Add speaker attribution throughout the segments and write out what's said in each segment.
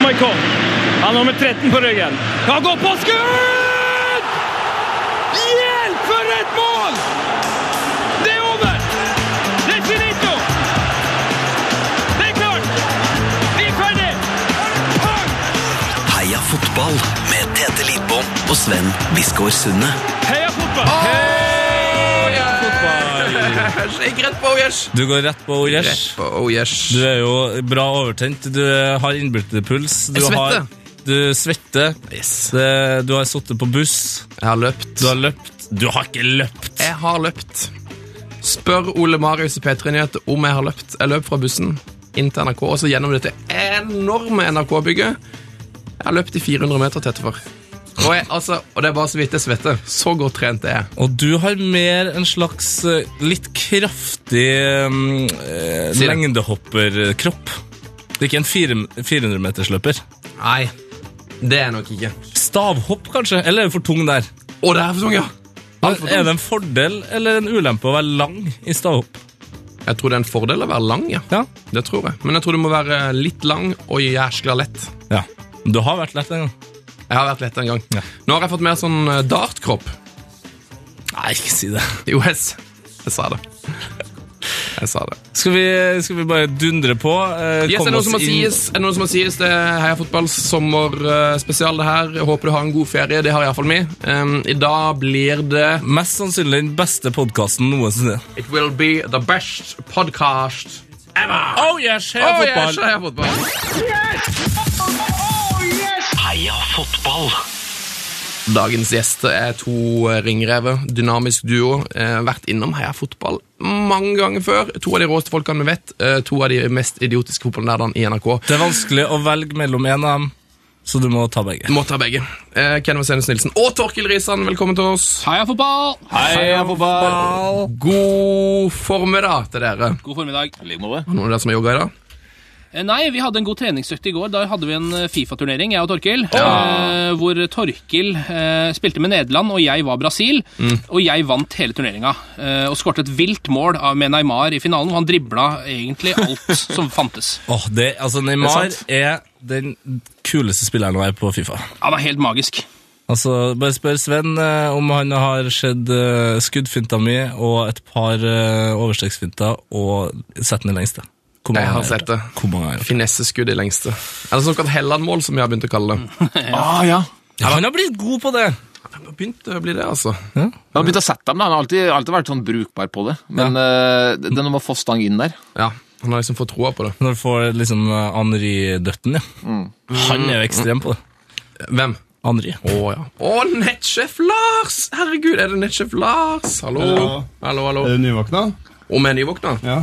Speaker 1: Berkov. Han har nummer 13 på ryggen. Han går på skudd! Hjelp, for et mål! Det er over! Det er finito! Det er klart! Vi er ferdig!
Speaker 2: Heia fotball med Tete Lidbom og Sven Biskår Sunde.
Speaker 1: Heia fotball! Heia fotball!
Speaker 3: Gikk rett på, oh yes!
Speaker 4: Du går rett på Ojesh.
Speaker 3: Rett på, oh yes.
Speaker 4: Du er jo bra overtent. Du har innbyrdepuls. Du
Speaker 3: Jeg svetter.
Speaker 4: har- Du svetter. Det- Du har sittet på buss.
Speaker 3: Jeg har løpt.
Speaker 4: Du har løpt. Du har ikke løpt!
Speaker 3: Jeg har løpt. Spør Ole Marius i P3 Nyhet om jeg har løpt. Jeg løp fra bussen inn til NRK, og så gjennom dette enorme NRK-bygget. Jeg har løpt i 400 meter tett for. Og, jeg, altså, og det er bare så vidt jeg svetter. Så godt trent er jeg.
Speaker 4: Og du har mer en slags eh, litt kraftig mm, eh,
Speaker 3: Si det.
Speaker 4: lengdehopperkropp. Det er ikke en fire- 400-metersløper.
Speaker 3: Nei, det er jeg nok ikke.
Speaker 4: Stavhopp, kanskje? Eller er du for tung der?
Speaker 3: Å, det er for tung, ja! Alt for
Speaker 4: Er
Speaker 3: tung.
Speaker 4: det en fordel eller en ulempe å være lang i stavhopp?
Speaker 3: Jeg tror det er en fordel å være lang, ja.
Speaker 4: Ja.
Speaker 3: Det tror jeg. Men jeg tror du må være litt lang og jæskla lett.
Speaker 4: ja. Du har vært lett en gang.
Speaker 3: Jeg har vært lett en gang.
Speaker 4: Ja.
Speaker 3: Nå har jeg fått mer sånn eh, dartkropp.
Speaker 4: Nei, ikke si det.
Speaker 3: Jo, jeg, s- jeg sa det. Jeg sa det.
Speaker 4: Skal vi, skal vi bare dundre på? eh,
Speaker 3: Yes,
Speaker 4: komme
Speaker 3: er det noe
Speaker 4: oss
Speaker 3: som må
Speaker 4: inn-
Speaker 3: sies? Er det noe som må sies? Det er Heia fotballs sommerspesial, det her. Jeg håper du har en god ferie. Det har iallfall vi. Um, I dag blir det
Speaker 4: Mest sannsynlig den beste podkasten noensinne.
Speaker 3: It will be the best podcast.
Speaker 4: Oh yes, heia
Speaker 3: Oh, yes,
Speaker 4: fotball!
Speaker 3: heia fotball!
Speaker 2: Heia fotball.
Speaker 3: Dagens gjester er to eh, ringrever, dynamisk duo. Eh, vært innom Heia fotball mange ganger før. To av de råeste folkene vi vet. Eh, to av de mest idiotiske fotballnerdene i NRK.
Speaker 4: Det er vanskelig å velge mellom en av dem, så du må ta begge.
Speaker 3: Må ta begge. Eh, Ken Vasenus Nilsen og Torkil Risan, velkommen til oss.
Speaker 5: Heia fotball!
Speaker 6: Heia fotball!
Speaker 3: God formiddag til dere.
Speaker 5: God formiddag.
Speaker 3: Har noen av dere som har jogga i dag?
Speaker 5: Eh, Nei, vi hadde en god treningsøkt i går. Da hadde vi en eh, Fifa-turnering, jeg og Torkil. Eh, hvor Torkil eh, spilte med Nederland, og jeg var Brasil. Og jeg vant hele turneringa. Eh, og skåret et vilt mål av med Neymar i finalen, hvor han dribla egentlig alt som fantes.
Speaker 4: Åh, det, altså Neymar
Speaker 3: Det
Speaker 4: er, den kuleste spilleren å være på Fifa.
Speaker 5: Han er helt magisk.
Speaker 4: Altså, Bare spør Sven eh, om han har sett eh, skuddfinta mi og et par eh, overstreksfinter, og sett den i lengste. Hvor
Speaker 3: Jeg har
Speaker 4: gjort
Speaker 3: sett det.
Speaker 4: Hvor mange har jeg gjort?
Speaker 3: Finesseskudd i lengste. Eller såkalt Helland-mål, som vi har begynt å kalle det.
Speaker 6: Ah, ja.
Speaker 4: Ja, han har blitt god på det!
Speaker 3: Det har begynt å bli det, altså.
Speaker 6: Han har begynt å sette dem, da. Han har alltid, alltid vært sånn brukbar på det. Men eh, det det er noe med å få stang inn der.
Speaker 3: Ja, Han har liksom fått troa på det.
Speaker 4: Når du får liksom eh, Henri-døtten, ja. Han er jo ekstrem på det.
Speaker 3: Hvem?
Speaker 4: Henri.
Speaker 3: Å Mm. ja. Å, nettsjef Lars! Herregud, er det nettsjef Lars? Hallo?
Speaker 7: Hallo.
Speaker 3: Hallo, hallo.
Speaker 7: Er du nyvåkna?
Speaker 3: Om jeg er nyvåkna?
Speaker 7: Ja.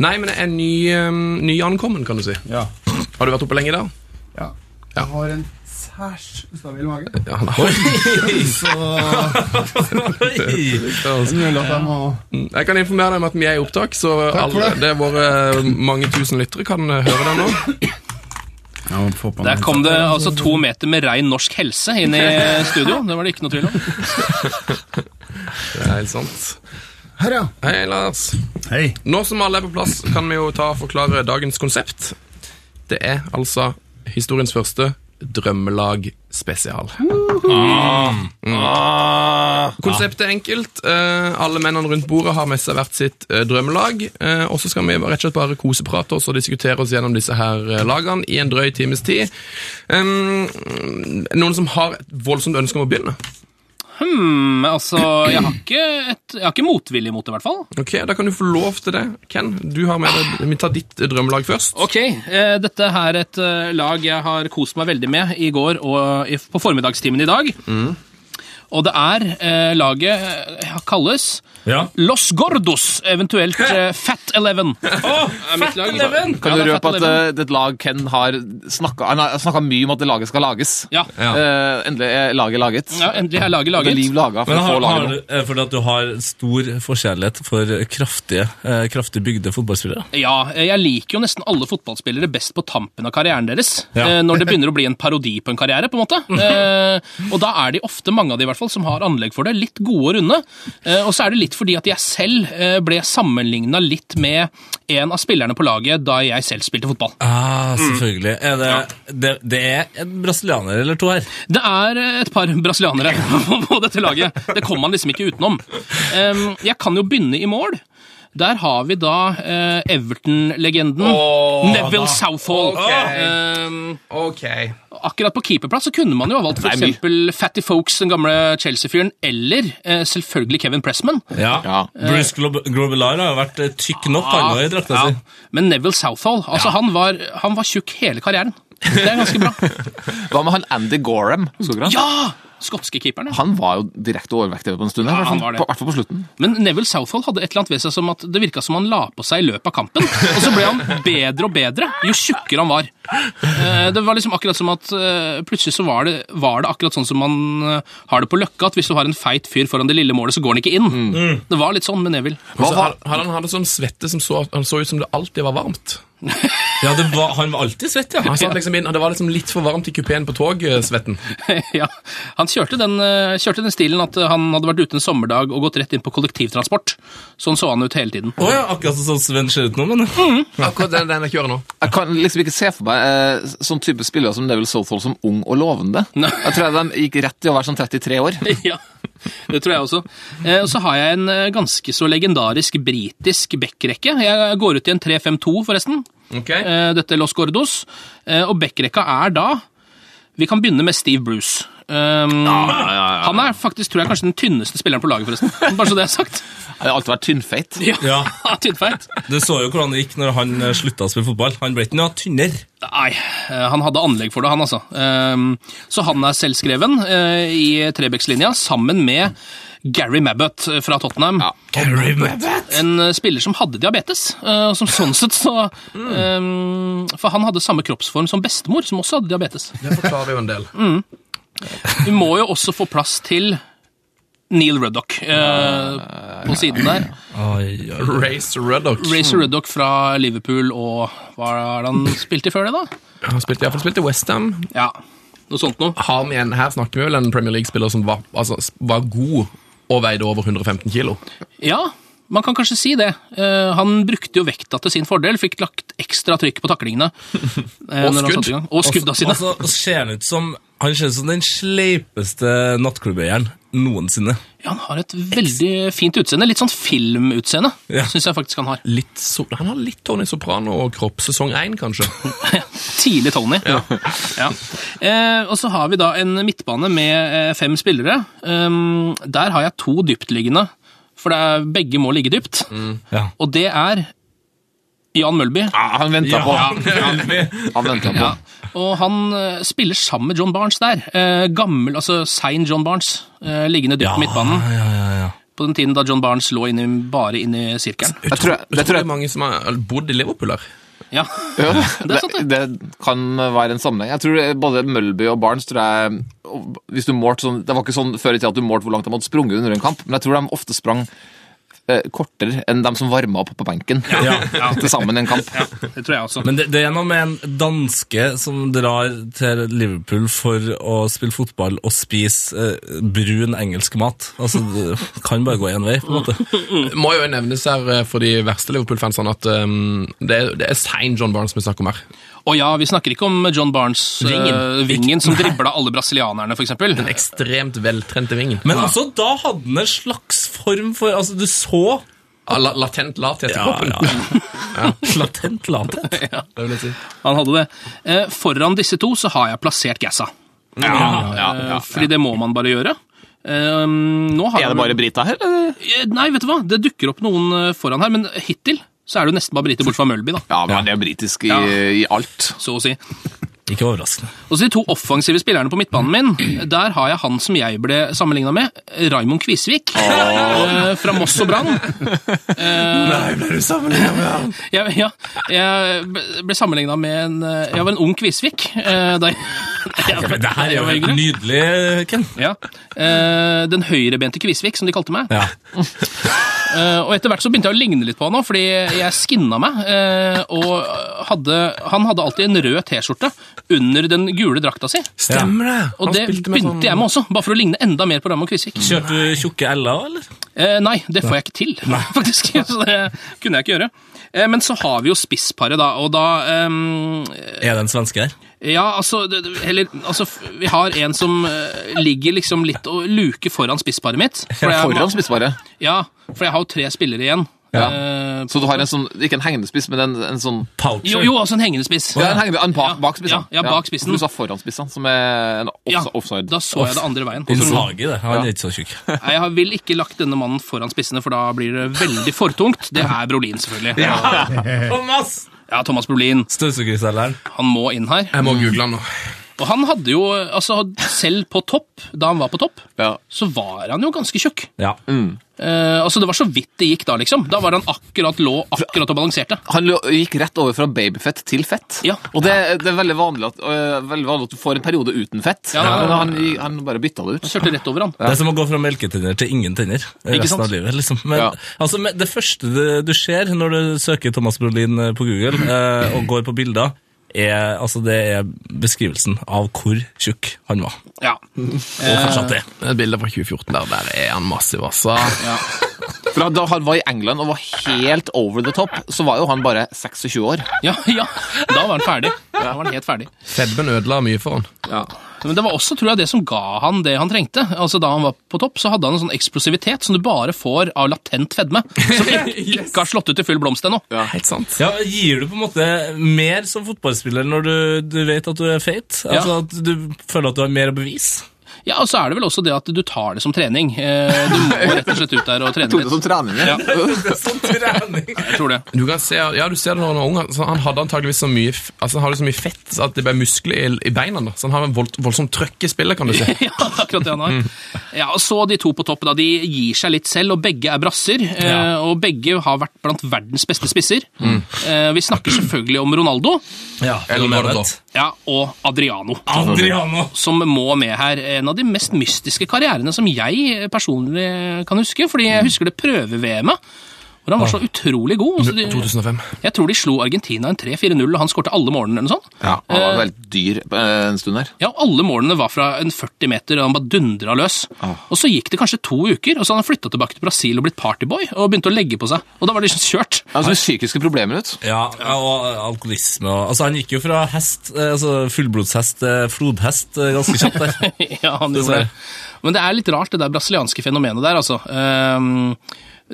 Speaker 3: Nei, men jeg er ny, um, nyankommen, kan du si.
Speaker 7: ja.
Speaker 3: Har du vært oppe lenge i dag?
Speaker 7: Ja. Jeg har en særs ustabil mage.
Speaker 3: Ja, da.
Speaker 7: Så det er mulig at jeg Altså, må
Speaker 3: Jeg kan informere deg om at vi er i opptak, så
Speaker 7: for
Speaker 3: alle,
Speaker 7: det.
Speaker 3: det er våre um, mange tusen lyttere kan eh, høre det nå.
Speaker 7: Jeg må få på
Speaker 5: Der kom det altså to meter med rein norsk helse inn i studio. Det var det ikke noe tvil om.
Speaker 3: Det er helt sant.
Speaker 7: Her, ja.
Speaker 3: Hei, Lars.
Speaker 7: Hei.
Speaker 3: Nå som alle er på plass, kan vi jo ta og forklare dagens konsept. Det er altså historiens første drømmelag-spesial. Mm. Konseptet er enkelt. Eh, alle mennene rundt bordet har med seg hvert sitt eh, drømmelag. eh, og så skal vi rett og slett bare koseprate oss og diskutere oss gjennom disse her eh, lagene i en drøy times tid. Um, noen som har et voldsomt ønske om å begynne?
Speaker 5: Hmm, altså, jeg har ikke, et, jeg har ikke motvilje mot det, i hvert fall.
Speaker 3: Ok, Da kan du få lov til det. Ken, du har med deg, vi tar ditt drømmelag først.
Speaker 5: Ok, eh, dette er et eh, lag jeg har kost meg veldig med i går og i, på formiddagstimen i dag.
Speaker 6: Mm.
Speaker 5: Og det er eh, laget eh, kalles
Speaker 4: Ja.
Speaker 5: Los Gordos, eventuelt eh, Fat Eleven. Fat Eleven!
Speaker 6: Kan du røpe at eh, det et lag Ken har snakka han har snakket mye om at det laget skal lages?
Speaker 5: Ja.
Speaker 6: Eh, endelig er laget laget.
Speaker 5: ja, endelig er laget
Speaker 6: Det er
Speaker 5: laget.
Speaker 6: liv laga for
Speaker 4: Men
Speaker 6: å få
Speaker 4: har, har
Speaker 6: laget
Speaker 4: du,
Speaker 6: nå.
Speaker 4: er det fordi at du har stor forkjærlighet for kraftige, eh, kraftig bygde fotballspillere?
Speaker 5: Ja, eh, jeg liker jo nesten alle fotballspillere best på tampen av karrieren deres.
Speaker 4: Ja.
Speaker 5: eh, Når det begynner å bli en parodi på en karriere, på en måte. Eh, Og da er de ofte, mange av de i hvert hvert fall, som har anlegg for det. Litt gode og runde. Eh, Og så er det litt fordi at jeg selv eh, ble sammenligna litt med en av spillerne på laget da jeg selv spilte fotball.
Speaker 4: Ah,
Speaker 3: Mm.
Speaker 4: selvfølgelig. Er det, det, det er en brasilianer eller to her.
Speaker 5: Det er eh, et par brasilianere på på dette laget. Det kommer man liksom ikke utenom. Em, Jeg kan jo begynne i mål. Der har vi da eh, Everton-legenden Neville Southall. Em,
Speaker 3: Ok.
Speaker 5: akkurat på keeperplass så kunne man jo ha valgt for eksempel Fatty Folks, den gamle Chelsea-fyren, eller eh, selvfølgelig Kevin Pressman.
Speaker 4: Ja.
Speaker 6: Ja.
Speaker 4: Bruce Glob Globelar har jo vært eh, tykk nok han også i drakta
Speaker 5: Ja.
Speaker 4: si.
Speaker 5: Men Neville Southall, altså han, var, han var tjukk hele karrieren. Det er ganske bra.
Speaker 6: Hva med han Andy Gorham? Husker dere han?
Speaker 5: Ja! Skotske keeperen, ja.
Speaker 6: Han var jo direkte overvektig på en stund, i hvert
Speaker 5: han
Speaker 6: fall
Speaker 5: var det.
Speaker 6: på, hvert fall på slutten.
Speaker 5: Men Neville Southall hadde et eller annet ved seg som at det virka som han la på seg i løpet av kampen. Og så ble han bedre og bedre jo tjukkere han var. Eh, Det var liksom akkurat som at eh, plutselig så var det, var det akkurat sånn som man eh, har det på Løkka, at hvis du har en feit fyr foran det lille målet, så går han ikke inn. Det var litt sånn med Neville.
Speaker 6: Hva
Speaker 3: Så
Speaker 6: var,
Speaker 3: hadde han hadde sånn svette som så, han så ut som det alltid var varmt.
Speaker 4: Ja, det var, han var alltid svett, ja.
Speaker 3: Han satt liksom inn, og Det var liksom litt for varmt i kupeen på eh, togsvetten.
Speaker 5: ja, han kjørte den, eh, kjørte den stilen at eh, han hadde vært ute en sommerdag og gått rett inn på kollektivtransport. Sånn så han ut hele tiden.
Speaker 4: Å ja, akkurat sånn som Sven ser ut nå, men
Speaker 3: Mm. Akkurat den, den jeg kjører nå.
Speaker 6: jeg kan liksom ikke se for meg eh, sånn type spillere som Neville Southall som ung og lovende.
Speaker 5: Nei.
Speaker 6: Jeg tror de gikk rett i å være sånn 33 år.
Speaker 5: ja, det tror jeg også. Eh, Og så har jeg en eh, ganske så legendarisk britisk backrekke. Jeg går ut i en 3-5-2, forresten.
Speaker 3: Ok.
Speaker 5: Eh, Dette er Los Gordos. Eh, Og backrekka er da Vi kan begynne med Steve Bruce. Um, Han er faktisk, tror jeg, kanskje den tynneste spilleren på laget, forresten. Bare så det er sagt.
Speaker 6: Jeg har alltid vært tynnfeit.
Speaker 5: Ja,
Speaker 4: Ja.
Speaker 5: Tynnfeit.
Speaker 4: Du så jo hvordan det gikk når han eh, slutta å spille fotball. Han ble ikke noe tynnere.
Speaker 5: Nei, eh, han hadde anlegg for det, han altså. Ehm, Så han er selvskreven eh, i Trebekslinja sammen med Gary Mabbott eh, fra Tottenham.
Speaker 4: Gary Mabbott!
Speaker 5: En eh, spiller som hadde diabetes, eh, og som sånn sett så ehm, For han hadde samme kroppsform som bestemor, som også hadde diabetes.
Speaker 3: Det forklarer jo en del.
Speaker 4: Mm.
Speaker 5: Vi må jo også få plass til Neil Ruddock eh, på siden der.
Speaker 3: Race Ruddock.
Speaker 5: Racer Ruddock fra Liverpool og Hva er det han spilte før det, da?
Speaker 3: Han spilte iallfall spilt i Westham.
Speaker 5: Ja, noe sånt noe.
Speaker 3: Har vi en, her snakker vi vel en Premier League-spiller som var, altså, var god og veide over 115 kilo.
Speaker 5: Ja, man kan kanskje si det. Eh, han brukte jo vekta til sin fordel, fikk lagt ekstra trykk på taklingene. eh,
Speaker 3: Og
Speaker 5: når han
Speaker 3: skudd.
Speaker 5: satte i gang. Og skudda sine.
Speaker 4: Altså, ser han ut som Han ser ut som den sleipeste nattklubbeieren noensinne.
Speaker 5: Ja, han har et veldig fint utseende. Litt sånn filmutseende,
Speaker 4: Ja.
Speaker 5: Synes syns jeg faktisk han har.
Speaker 3: Litt so han har litt Tony Soprano-kropp. Sesong én, kanskje.
Speaker 5: Tidlig Tony. Ja. Eh, og så har vi da en midtbane med eh, fem spillere. Um, der har jeg to dyptliggende, for det er, begge må ligge dypt.
Speaker 4: Ja.
Speaker 5: Og det er Jan Mølby.
Speaker 6: Ja, han venta på. Han ventet på.
Speaker 5: Ja, og han eh, spiller sammen med John Barnes der. Eh, gammel, altså sein John Barnes, eh, liggende dypt på midtbanen.
Speaker 4: ja, ja, ja.
Speaker 5: På den tiden da John Barnes lå inne, bare inne i sirkelen.
Speaker 6: Jeg tror, jeg, det, tror
Speaker 3: Utrolig
Speaker 6: jeg,
Speaker 3: mange som har bodd i Liverpool her.
Speaker 5: Ja.
Speaker 6: ja,
Speaker 5: det
Speaker 6: det,
Speaker 5: er sant, det.
Speaker 6: det kan være en sammenheng. Jeg tror både Mølby og Barnes tror jeg, og hvis du målte sånn, Det var ikke sånn før i tida at du målte hvor langt de hadde sprunget under en kamp, men jeg tror de ofte sprang eh, kortere enn de som varma opp på benken til sammen en kamp.
Speaker 5: Det tror jeg også.
Speaker 4: Men det, det er noe med en danske som drar til Liverpool for å spille fotball og spise eh, brun engelsk mat. Altså, det kan bare gå én vei, på en måte.
Speaker 3: Må jo nevnes her eh, for de verste Liverpool-fansene at um, det, er, det er sein John Barnes vi snakker om her.
Speaker 5: Og ja, vi snakker ikke om John Barnes, eh,
Speaker 3: Vingen.
Speaker 5: vingen som dribla alle brasilianerne, f.eks.
Speaker 3: Den ekstremt veltrente vingen.
Speaker 4: Men altså, da hadde han en slags form for Altså, du så
Speaker 3: Ah, La, latent lathet i kroppen.
Speaker 4: latent lathet.
Speaker 3: Det vil jeg si.
Speaker 5: Han hadde det. Eh, foran disse to så har jeg plassert Gassa. Eh, Fordi det må man bare gjøre. Eh, nå har
Speaker 6: Er
Speaker 5: jeg-
Speaker 6: det bare Brita her? eller?
Speaker 5: Eh, Nei, vet du hva? Det dukker opp noen eh, foran her, men hittil så er det jo nesten bare briter, bort fra Mølby, da.
Speaker 6: Ja, men han er britisk i,
Speaker 5: Ja.
Speaker 6: i alt.
Speaker 5: Så å si.
Speaker 4: Ikke overraskende.
Speaker 5: Og så de to offensive spillerne på midtbanen min, der har jeg han som jeg ble sammenligna med, Raimond Kvisvik. eh, Fra Moss og Brann.
Speaker 3: Nei, ble du sammenlignet med han?
Speaker 5: Jeg, ja, jeg ble sammenligna med en eh, Jeg var en ung Kvisvik eh, da jeg,
Speaker 4: Men det her er jo helt
Speaker 5: da jeg var yngre.
Speaker 4: nydelig, Ken.
Speaker 5: Ja. Eh, Den høyrebente Kvisvik, som de kalte meg.
Speaker 4: Ja.
Speaker 5: Eh, og etter hvert så begynte jeg å ligne litt på han òg, fordi jeg skinna meg. eh, og hadde, han hadde alltid en rød T-skjorte under den gule drakta si.
Speaker 3: Stemmer det!
Speaker 5: Og det
Speaker 4: sånn-
Speaker 5: begynte jeg med sånn- også, bare for å ligne enda mer på Ramme Kvisvik.
Speaker 4: Kjørte du tjukke L-er òg, eller?
Speaker 5: Eh, nei, det får jeg ikke til, faktisk. Så det kunne jeg ikke gjøre. Eh, men så har vi jo spissparet, da, og da ehm,
Speaker 4: Er det en svenske her?
Speaker 5: Ja, altså, det, det- eller, altså f- Vi har en som eh, ligger liksom litt og luker foran spissparet mitt. For jeg,
Speaker 6: Foran spissparet.
Speaker 5: Ja, for jeg har jo tre spillere igjen. Eh,
Speaker 6: Så du har en sånn, ikke en hengende spiss, men en, en sånn
Speaker 4: Poucher?
Speaker 5: jo, jo, altså en hengende spiss.
Speaker 6: Ja, en hengende, en bak,
Speaker 5: Ja,
Speaker 6: bak spissen.
Speaker 5: ja, ja, bak spissen.
Speaker 6: Du sa foran spissen, som er en offs
Speaker 5: Ja,
Speaker 6: offside.
Speaker 5: da så jeg det andre veien.
Speaker 4: Nils
Speaker 5: Nei,
Speaker 4: Hage, det. Han er ikke så tjukk.
Speaker 5: jeg har- vil ikke lagt denne mannen foran spissene, for da blir det veldig fortungt. Det er Brolin, selvfølgelig. Ja,
Speaker 4: Thomas!
Speaker 5: Thomas Brolin.
Speaker 4: Støvsugerselgeren.
Speaker 5: Han må inn her.
Speaker 3: Jeg må google han nå.
Speaker 5: Og han hadde jo, altså selv på topp, da han var på topp,
Speaker 6: Ja.
Speaker 5: så var han jo ganske tjukk.
Speaker 4: Ja.
Speaker 5: Eh, altså Det var så vidt det gikk da, liksom. Da var han akkurat lå akkurat og balanserte.
Speaker 6: Han lå- gikk rett over fra babyfett til fett.
Speaker 5: Ja.
Speaker 6: Og det, det er veldig vanlig, at, øh, veldig vanlig at du får en periode uten fett.
Speaker 5: Ja, ja, ja.
Speaker 6: Men han, han bare bytta det ut.
Speaker 5: Kjørte rett over han.
Speaker 4: Det er som å gå fra melketenner til ingen tenner resten
Speaker 6: sant?
Speaker 4: av livet. liksom. Men
Speaker 6: Ja.
Speaker 4: altså, men det første du- du ser når du søker Thomas Brolin eh, på Google eh, og går på bilder, er, altså, det er beskrivelsen av hvor tjukk han var.
Speaker 5: Ja.
Speaker 4: Og fortsatt er.
Speaker 3: Et bilde fra 2014 der, der er han massiv, altså.
Speaker 6: For Da han var i England og var helt over the top, så var jo han bare 26 år.
Speaker 5: ja, ja. Da var han ferdig. Da var han helt ferdig.
Speaker 3: Fedmen ødela mye for han.
Speaker 5: Men det var også tror jeg, det som ga han det han trengte. Altså Da han var på topp, så hadde han en sånn eksplosivitet som du bare får av latent fedme. Som ikke, ikke har slått ut i full blomst ennå.
Speaker 3: Helt sant.
Speaker 4: Ja, Gir du på en måte mer som fotballspiller når du, du vet at du er feit? Altså
Speaker 5: Ja.
Speaker 4: At du føler at du har mer å bevise?
Speaker 5: Ja, og så er det vel også det at du tar det som trening. Eh, Du må rett og slett ut der og trene litt.
Speaker 6: trening. Ja.
Speaker 4: Sånn trening!
Speaker 5: Jeg tror det.
Speaker 3: Du kan se, ja, du ser det når han var ung. altså, han hadde antageligvis så mye, f- altså, han hadde så mye fett at det ble muskler i, i beina. Da. Så han har en voldt, voldsomt trøkk i spillet, kan du si.
Speaker 5: Ja, det er akkurat det han har. Ja, og så de to på topp, da. De gir seg litt selv, og begge er brasser. eh,
Speaker 4: Ja.
Speaker 5: Og begge har vært blant verdens beste spisser.
Speaker 6: Mm.
Speaker 5: Eh, Vi snakker selvfølgelig om Ronaldo
Speaker 4: Ja,
Speaker 3: Eller
Speaker 4: Robert.
Speaker 3: Ronaldo.
Speaker 5: ja, og Adriano.
Speaker 4: Adriano!
Speaker 5: Som må med her. En av de mest mystiske karrierene som jeg personlig kan huske. Fordi
Speaker 6: Mm.
Speaker 5: jeg husker det prøve-VM-et, hvor han var så utrolig god. og så de-
Speaker 3: 2005.
Speaker 5: Jeg tror de slo Argentina en 3-4-0, og han skårte alle målene. eller noe sånt. Eh,
Speaker 6: Han var veldig dyr eh, en stund her.
Speaker 5: Ja, alle målene var fra en 40 meter, og han bare dundra løs.
Speaker 4: Ah.
Speaker 5: Og så gikk det kanskje to uker, og så hadde han flytta tilbake til Brasil og blitt partyboy, og begynte å legge på seg. Og da var det liksom kjørt.
Speaker 6: Han så psykiske problemer ut.
Speaker 4: Ja, og alkoholisme og Altså, han gikk jo fra hest, eh, altså fullblodshest til flodhest eh, ganske kjapt der.
Speaker 5: ja, han gjorde
Speaker 4: Dessverre.
Speaker 5: det. Men det er litt rart, det der brasilianske fenomenet der, altså. Ehm,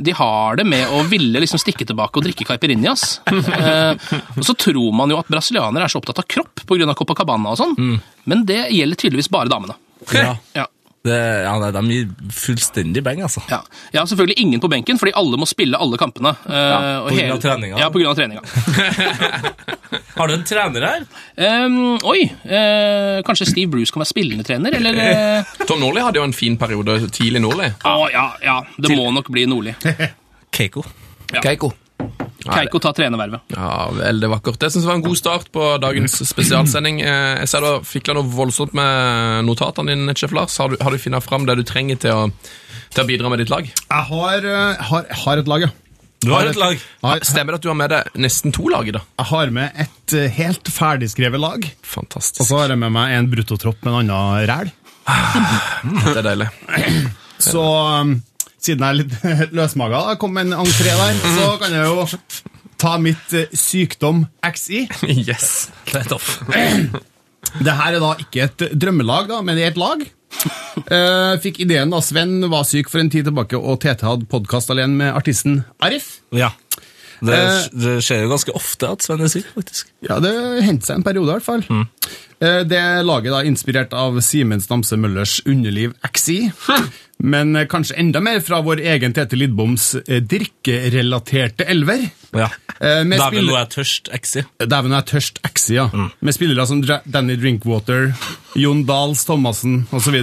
Speaker 5: de har det med å ville liksom stikke tilbake og drikke caipirinhas. Eh, og så tror man jo at brasilianere er så opptatt av kropp pga. Copacabana og sånn, men det gjelder tydeligvis bare damene.
Speaker 4: Mm. Ja.
Speaker 5: Ja.
Speaker 4: Det, ja, nei, de gir fullstendig beng, altså.
Speaker 5: Ja. Jeg har selvfølgelig ingen på benken, fordi alle må spille alle kampene. ja,
Speaker 4: på grunn av treninga.
Speaker 5: Ja, på grunn av treninga.
Speaker 4: Har du en trener her?
Speaker 5: Ehm, oi, eh, kanskje Steve Bruce kan være spillende trener, eller? eh,
Speaker 3: Tom Nordli hadde jo en fin periode tidlig Nordli.
Speaker 5: Å ja, ja, det må nok bli Nordli.
Speaker 4: Keiko.
Speaker 3: Keiko.
Speaker 5: Keiko tar trenervervet.
Speaker 3: Ja, veldig vakkert. Det synes jeg var en god start på dagens spesialsending. Eh, Jeg ser du fikla noe voldsomt med notatene dine, Sjef Lars. Har du, har du funnet fram det du trenger til å, til å bidra med ditt lag?
Speaker 7: Jeg har, eh, har, har et lag, ja.
Speaker 4: Du har et lag.
Speaker 7: Har,
Speaker 3: Stemmer det at du har med deg nesten to lag i dag?
Speaker 7: jeg har med et eh, helt ferdigskrevet lag. Og
Speaker 3: Fantastisk.
Speaker 7: så har jeg med meg en bruttotropp med en annen ræl.
Speaker 3: Det er deilig.
Speaker 7: Så um, siden jeg er litt løsmaga, da, kom en entré der, så kan jeg jo ta mitt eh, sykdom XI.
Speaker 3: Yes.
Speaker 4: Det er topp.
Speaker 7: Det her er da ikke et drømmelag, da, men det er et lag. Eh, fikk ideen da Sven var syk for en tid tilbake, og TT hadde podkast alene med artisten Arif.
Speaker 4: Ja. Det,
Speaker 7: Eh.
Speaker 4: det skjer jo ganske ofte at Sven er syk, faktisk.
Speaker 7: Ja, det hendte seg en periode i hvert fall.
Speaker 4: Mm.
Speaker 7: Eh, Det laget da er inspirert av Simens Namse Møllers Underliv XI, men eh, kanskje enda mer fra vår egen Tete Lidboms eh, drikkerelaterte elver.
Speaker 4: Ja.
Speaker 7: Eh, med
Speaker 4: Dæven,
Speaker 7: spill-
Speaker 4: nå er jeg tørst, Exi.
Speaker 7: Dæven, jeg er tørst XI, ja. Med spillere som Dra- Danny Drinkwater, Jon Dahls Thomassen osv.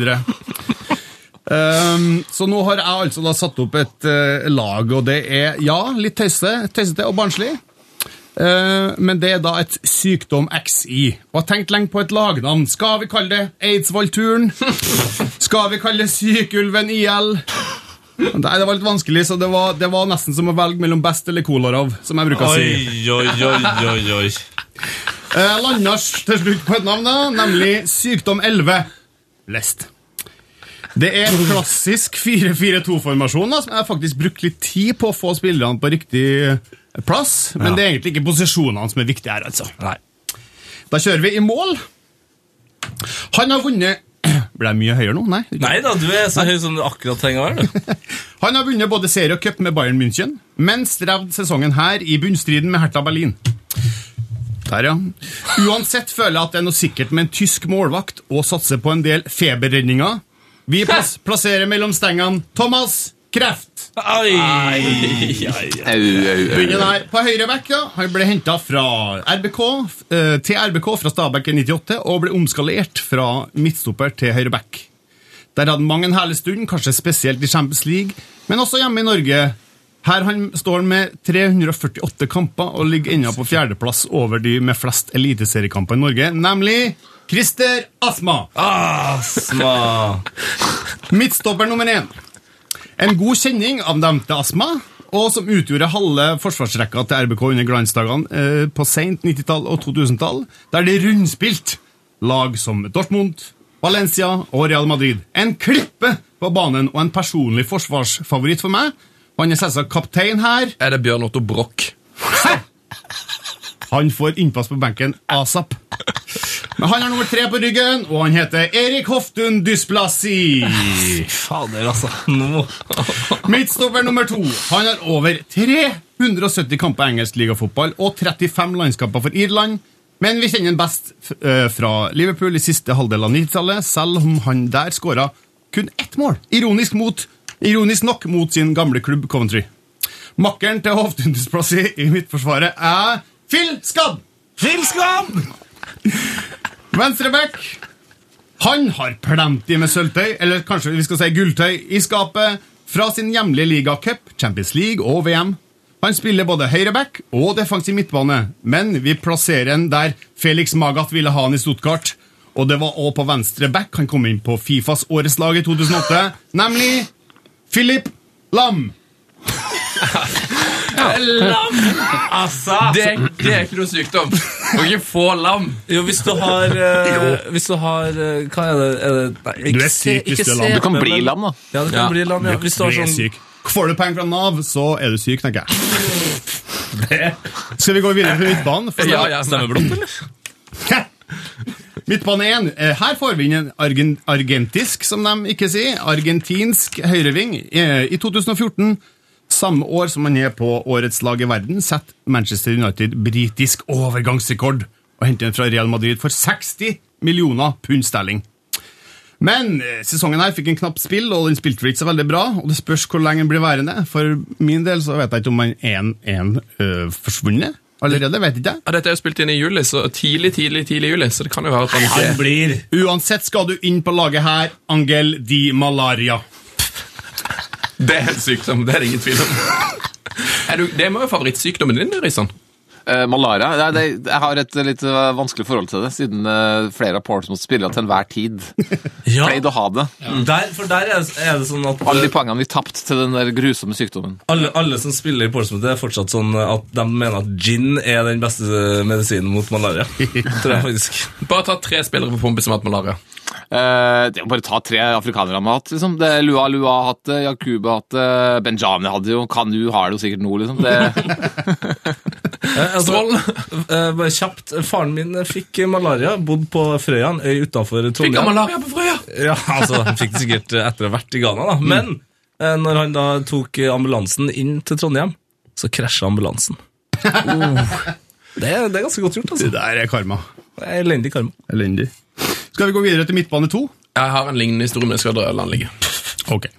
Speaker 7: Um, så nå har jeg altså da satt opp et eh, lag, og det er ja, litt tøyse- tøysete og barnslig. Eh, men det er da et sykdom XI. Og jeg har tenkt lenge på et lagnavn. Skal vi kalle det Eidsvollturen? Skal vi kalle det Sykulven IL? Nei, det var litt vanskelig, så det var, det var nesten som å velge mellom best eller Kolarov, som jeg bruker å si.
Speaker 4: Oi, oi, oi, oi, oi.
Speaker 7: Eh, lander til slutt på et navn, da, nemlig Sykdom 11. Lest. Det er en klassisk 4-4-2-formasjon, da, som jeg har faktisk brukt litt tid på å få spillerne på riktig eh, plass, men det er egentlig ikke posisjonene som er viktige her, altså.
Speaker 4: Nei.
Speaker 7: Da kjører vi i mål. Han har vunnet Ble jeg mye høyere nå? Nei.
Speaker 4: Nei da, du er så høy som du akkurat trenger å være. du.
Speaker 7: Han har vunnet både serie og cup med Bayern München, men strevd sesongen her i bunnstriden med Hertha Berlin. Der, ja. Uansett føler jeg at det er noe sikkert med en tysk målvakt og satser på en del feberredninger. Vi plass plasserer mellom stengene Thomas Kreft.
Speaker 4: Ai, ai, ai.
Speaker 6: Au, au, au.
Speaker 7: Begynner der. På høyre back, ja. Han ble henta fra RBK eh, til RBK fra Stabæk i 98 og ble omskalert fra midtstopper til høyre back. Der hadde han mange en herlig stund, kanskje spesielt i Champions League, men også hjemme i Norge. Her han står han med 348 kamper og ligger ennå på fjerdeplass over de med flest eliteseriekamper i Norge, nemlig Christer Asma.
Speaker 4: Asma.
Speaker 7: Midtstopper nummer én. En god kjenning av nevnte astma, og som utgjorde halve forsvarsrekka til RBK under glansdagene eh, på sent 90-tall og 2000-tall, der de rundspilt lag som Dortmund, Valencia og Real Madrid. En klippe på banen og en personlig forsvarsfavoritt for meg. Og Han er selvsagt kaptein her.
Speaker 3: Er det Bjørn Otto Broch?
Speaker 7: Han får innpass på benken asap. Men han er nummer tre på ryggen, og han heter Erik Hoftun Dysplassi.
Speaker 4: Fader, altså. Nå.
Speaker 7: Midtstopper nummer to. Han har over 370 kamper i engelsk ligafotball og 35 landskamper for Irland. Men vi kjenner ham best eh, fra Liverpool i siste halvdel av 90-tallet, selv om han der skåra kun ett mål, ironisk, mot, ironisk nok mot sin gamle klubb Coventry. Makkeren til Hoftundus plass i, i midtforsvaret er Phil Skadd!
Speaker 4: Filskam!
Speaker 7: Venstrebekk. Han har plenty med sølvtøy, eller kanskje vi skal si gulltøy, i skapet fra sin hjemlige ligacup, Champions League og VM. Han spiller både høyreback og defensiv midtbane, men vi plasserer han der Felix Magath ville ha han i Stuttgart. Og det var også på venstre back han kom inn på Fifas årets lag i 2008, nemlig Philip Lam.
Speaker 3: Lam!
Speaker 4: Altså.
Speaker 3: Det, er- det er ikke noe sykdom. Du kan ikke få lam.
Speaker 4: Jo, hvis du har eh, Hvis du har eh, Hva er det? Er det nei, ikke
Speaker 7: Du er
Speaker 4: se-
Speaker 7: syk hvis
Speaker 4: ikke
Speaker 7: du er
Speaker 4: se-
Speaker 7: lam.
Speaker 6: Du kan bli
Speaker 4: men-
Speaker 6: lam, da.
Speaker 4: Ja, du kan
Speaker 3: Ja.
Speaker 4: bli lam. Ja. Hvis du har
Speaker 7: Du er
Speaker 4: sånn
Speaker 7: syk. Får du penger fra Nav, så er du syk, tenker jeg. Skal vi gå videre til midtbanen? For
Speaker 3: Ja, ja.
Speaker 4: Stemmeblått, eller?
Speaker 7: Midtbane 1. eh, Her får vi inn en argen, argentisk, som de ikke sier, argentinsk høyreving. Eh, I 2014, samme år som han er på årets lag i verden, setter Manchester United britisk overgangsrekord og henter den fra Real Madrid for 60 millioner pund sterling. Men eh, sesongen her fikk en knapp spill, og den spilte vel ikke så veldig bra. Og det spørs hvor lenge den blir værende. For min del så vet jeg ikke om han er 1-1 forsvunnet allerede. vet ikke jeg.
Speaker 3: Ja, dette er jo spilt inn i juli, så tidlig, tidlig, tidlig juli, så det kan jo være at han ikke
Speaker 4: Han blir
Speaker 7: Uansett skal du inn på laget her, Angel di Malaria.
Speaker 3: Det er en sykdom, det er det ingen tvil om. Er du, det må jo favorittsykdommen din, Risan.
Speaker 6: Eh, malaria Nei, det, Jeg har et litt eh, vanskelig forhold til det, siden eh, flere av Portsmouth spillere til enhver tid
Speaker 4: Ja,
Speaker 6: pleide å ha det.
Speaker 4: der, for der er, er det sånn at
Speaker 6: Alle de poengene vi tapte til den der grusomme sykdommen.
Speaker 4: alle, alle som spiller i Portsmouth, det er fortsatt sånn at de mener at gin er den beste medisinen mot malaria. Tror jeg faktisk.
Speaker 3: Bare ta tre spillere på pumpe som har hatt malaria.
Speaker 6: Eh, det er jo bare å ta tre afrikanere han har hatt. Liksom. Det er Lua Lua har hatt det, Yakuba har hatt det, Benjamin hadde jo, Kanu har det jo sikkert nå, liksom. Det,
Speaker 4: Eh, altså,
Speaker 3: Strål.
Speaker 4: eh, bare kjapt. Faren min fikk malaria, bodd på Frøya, en øy utafor
Speaker 3: Fikk han
Speaker 4: Trondheim.
Speaker 3: malaria på Frøya? Mm.
Speaker 4: Ja, altså, han fikk det sikkert eh, etter å ha vært i Ghana, da. Men eh, når han da tok eh, ambulansen inn til Trondheim, så krasja ambulansen.
Speaker 3: Uh.
Speaker 4: Det, er, det er ganske godt gjort, altså.
Speaker 7: Det der er karma.
Speaker 4: Det er Elendig karma.
Speaker 7: Elendig. Skal vi gå videre til midtbane to?
Speaker 3: Jeg har en lignende historie, men jeg skal dra landligge.
Speaker 7: Ok.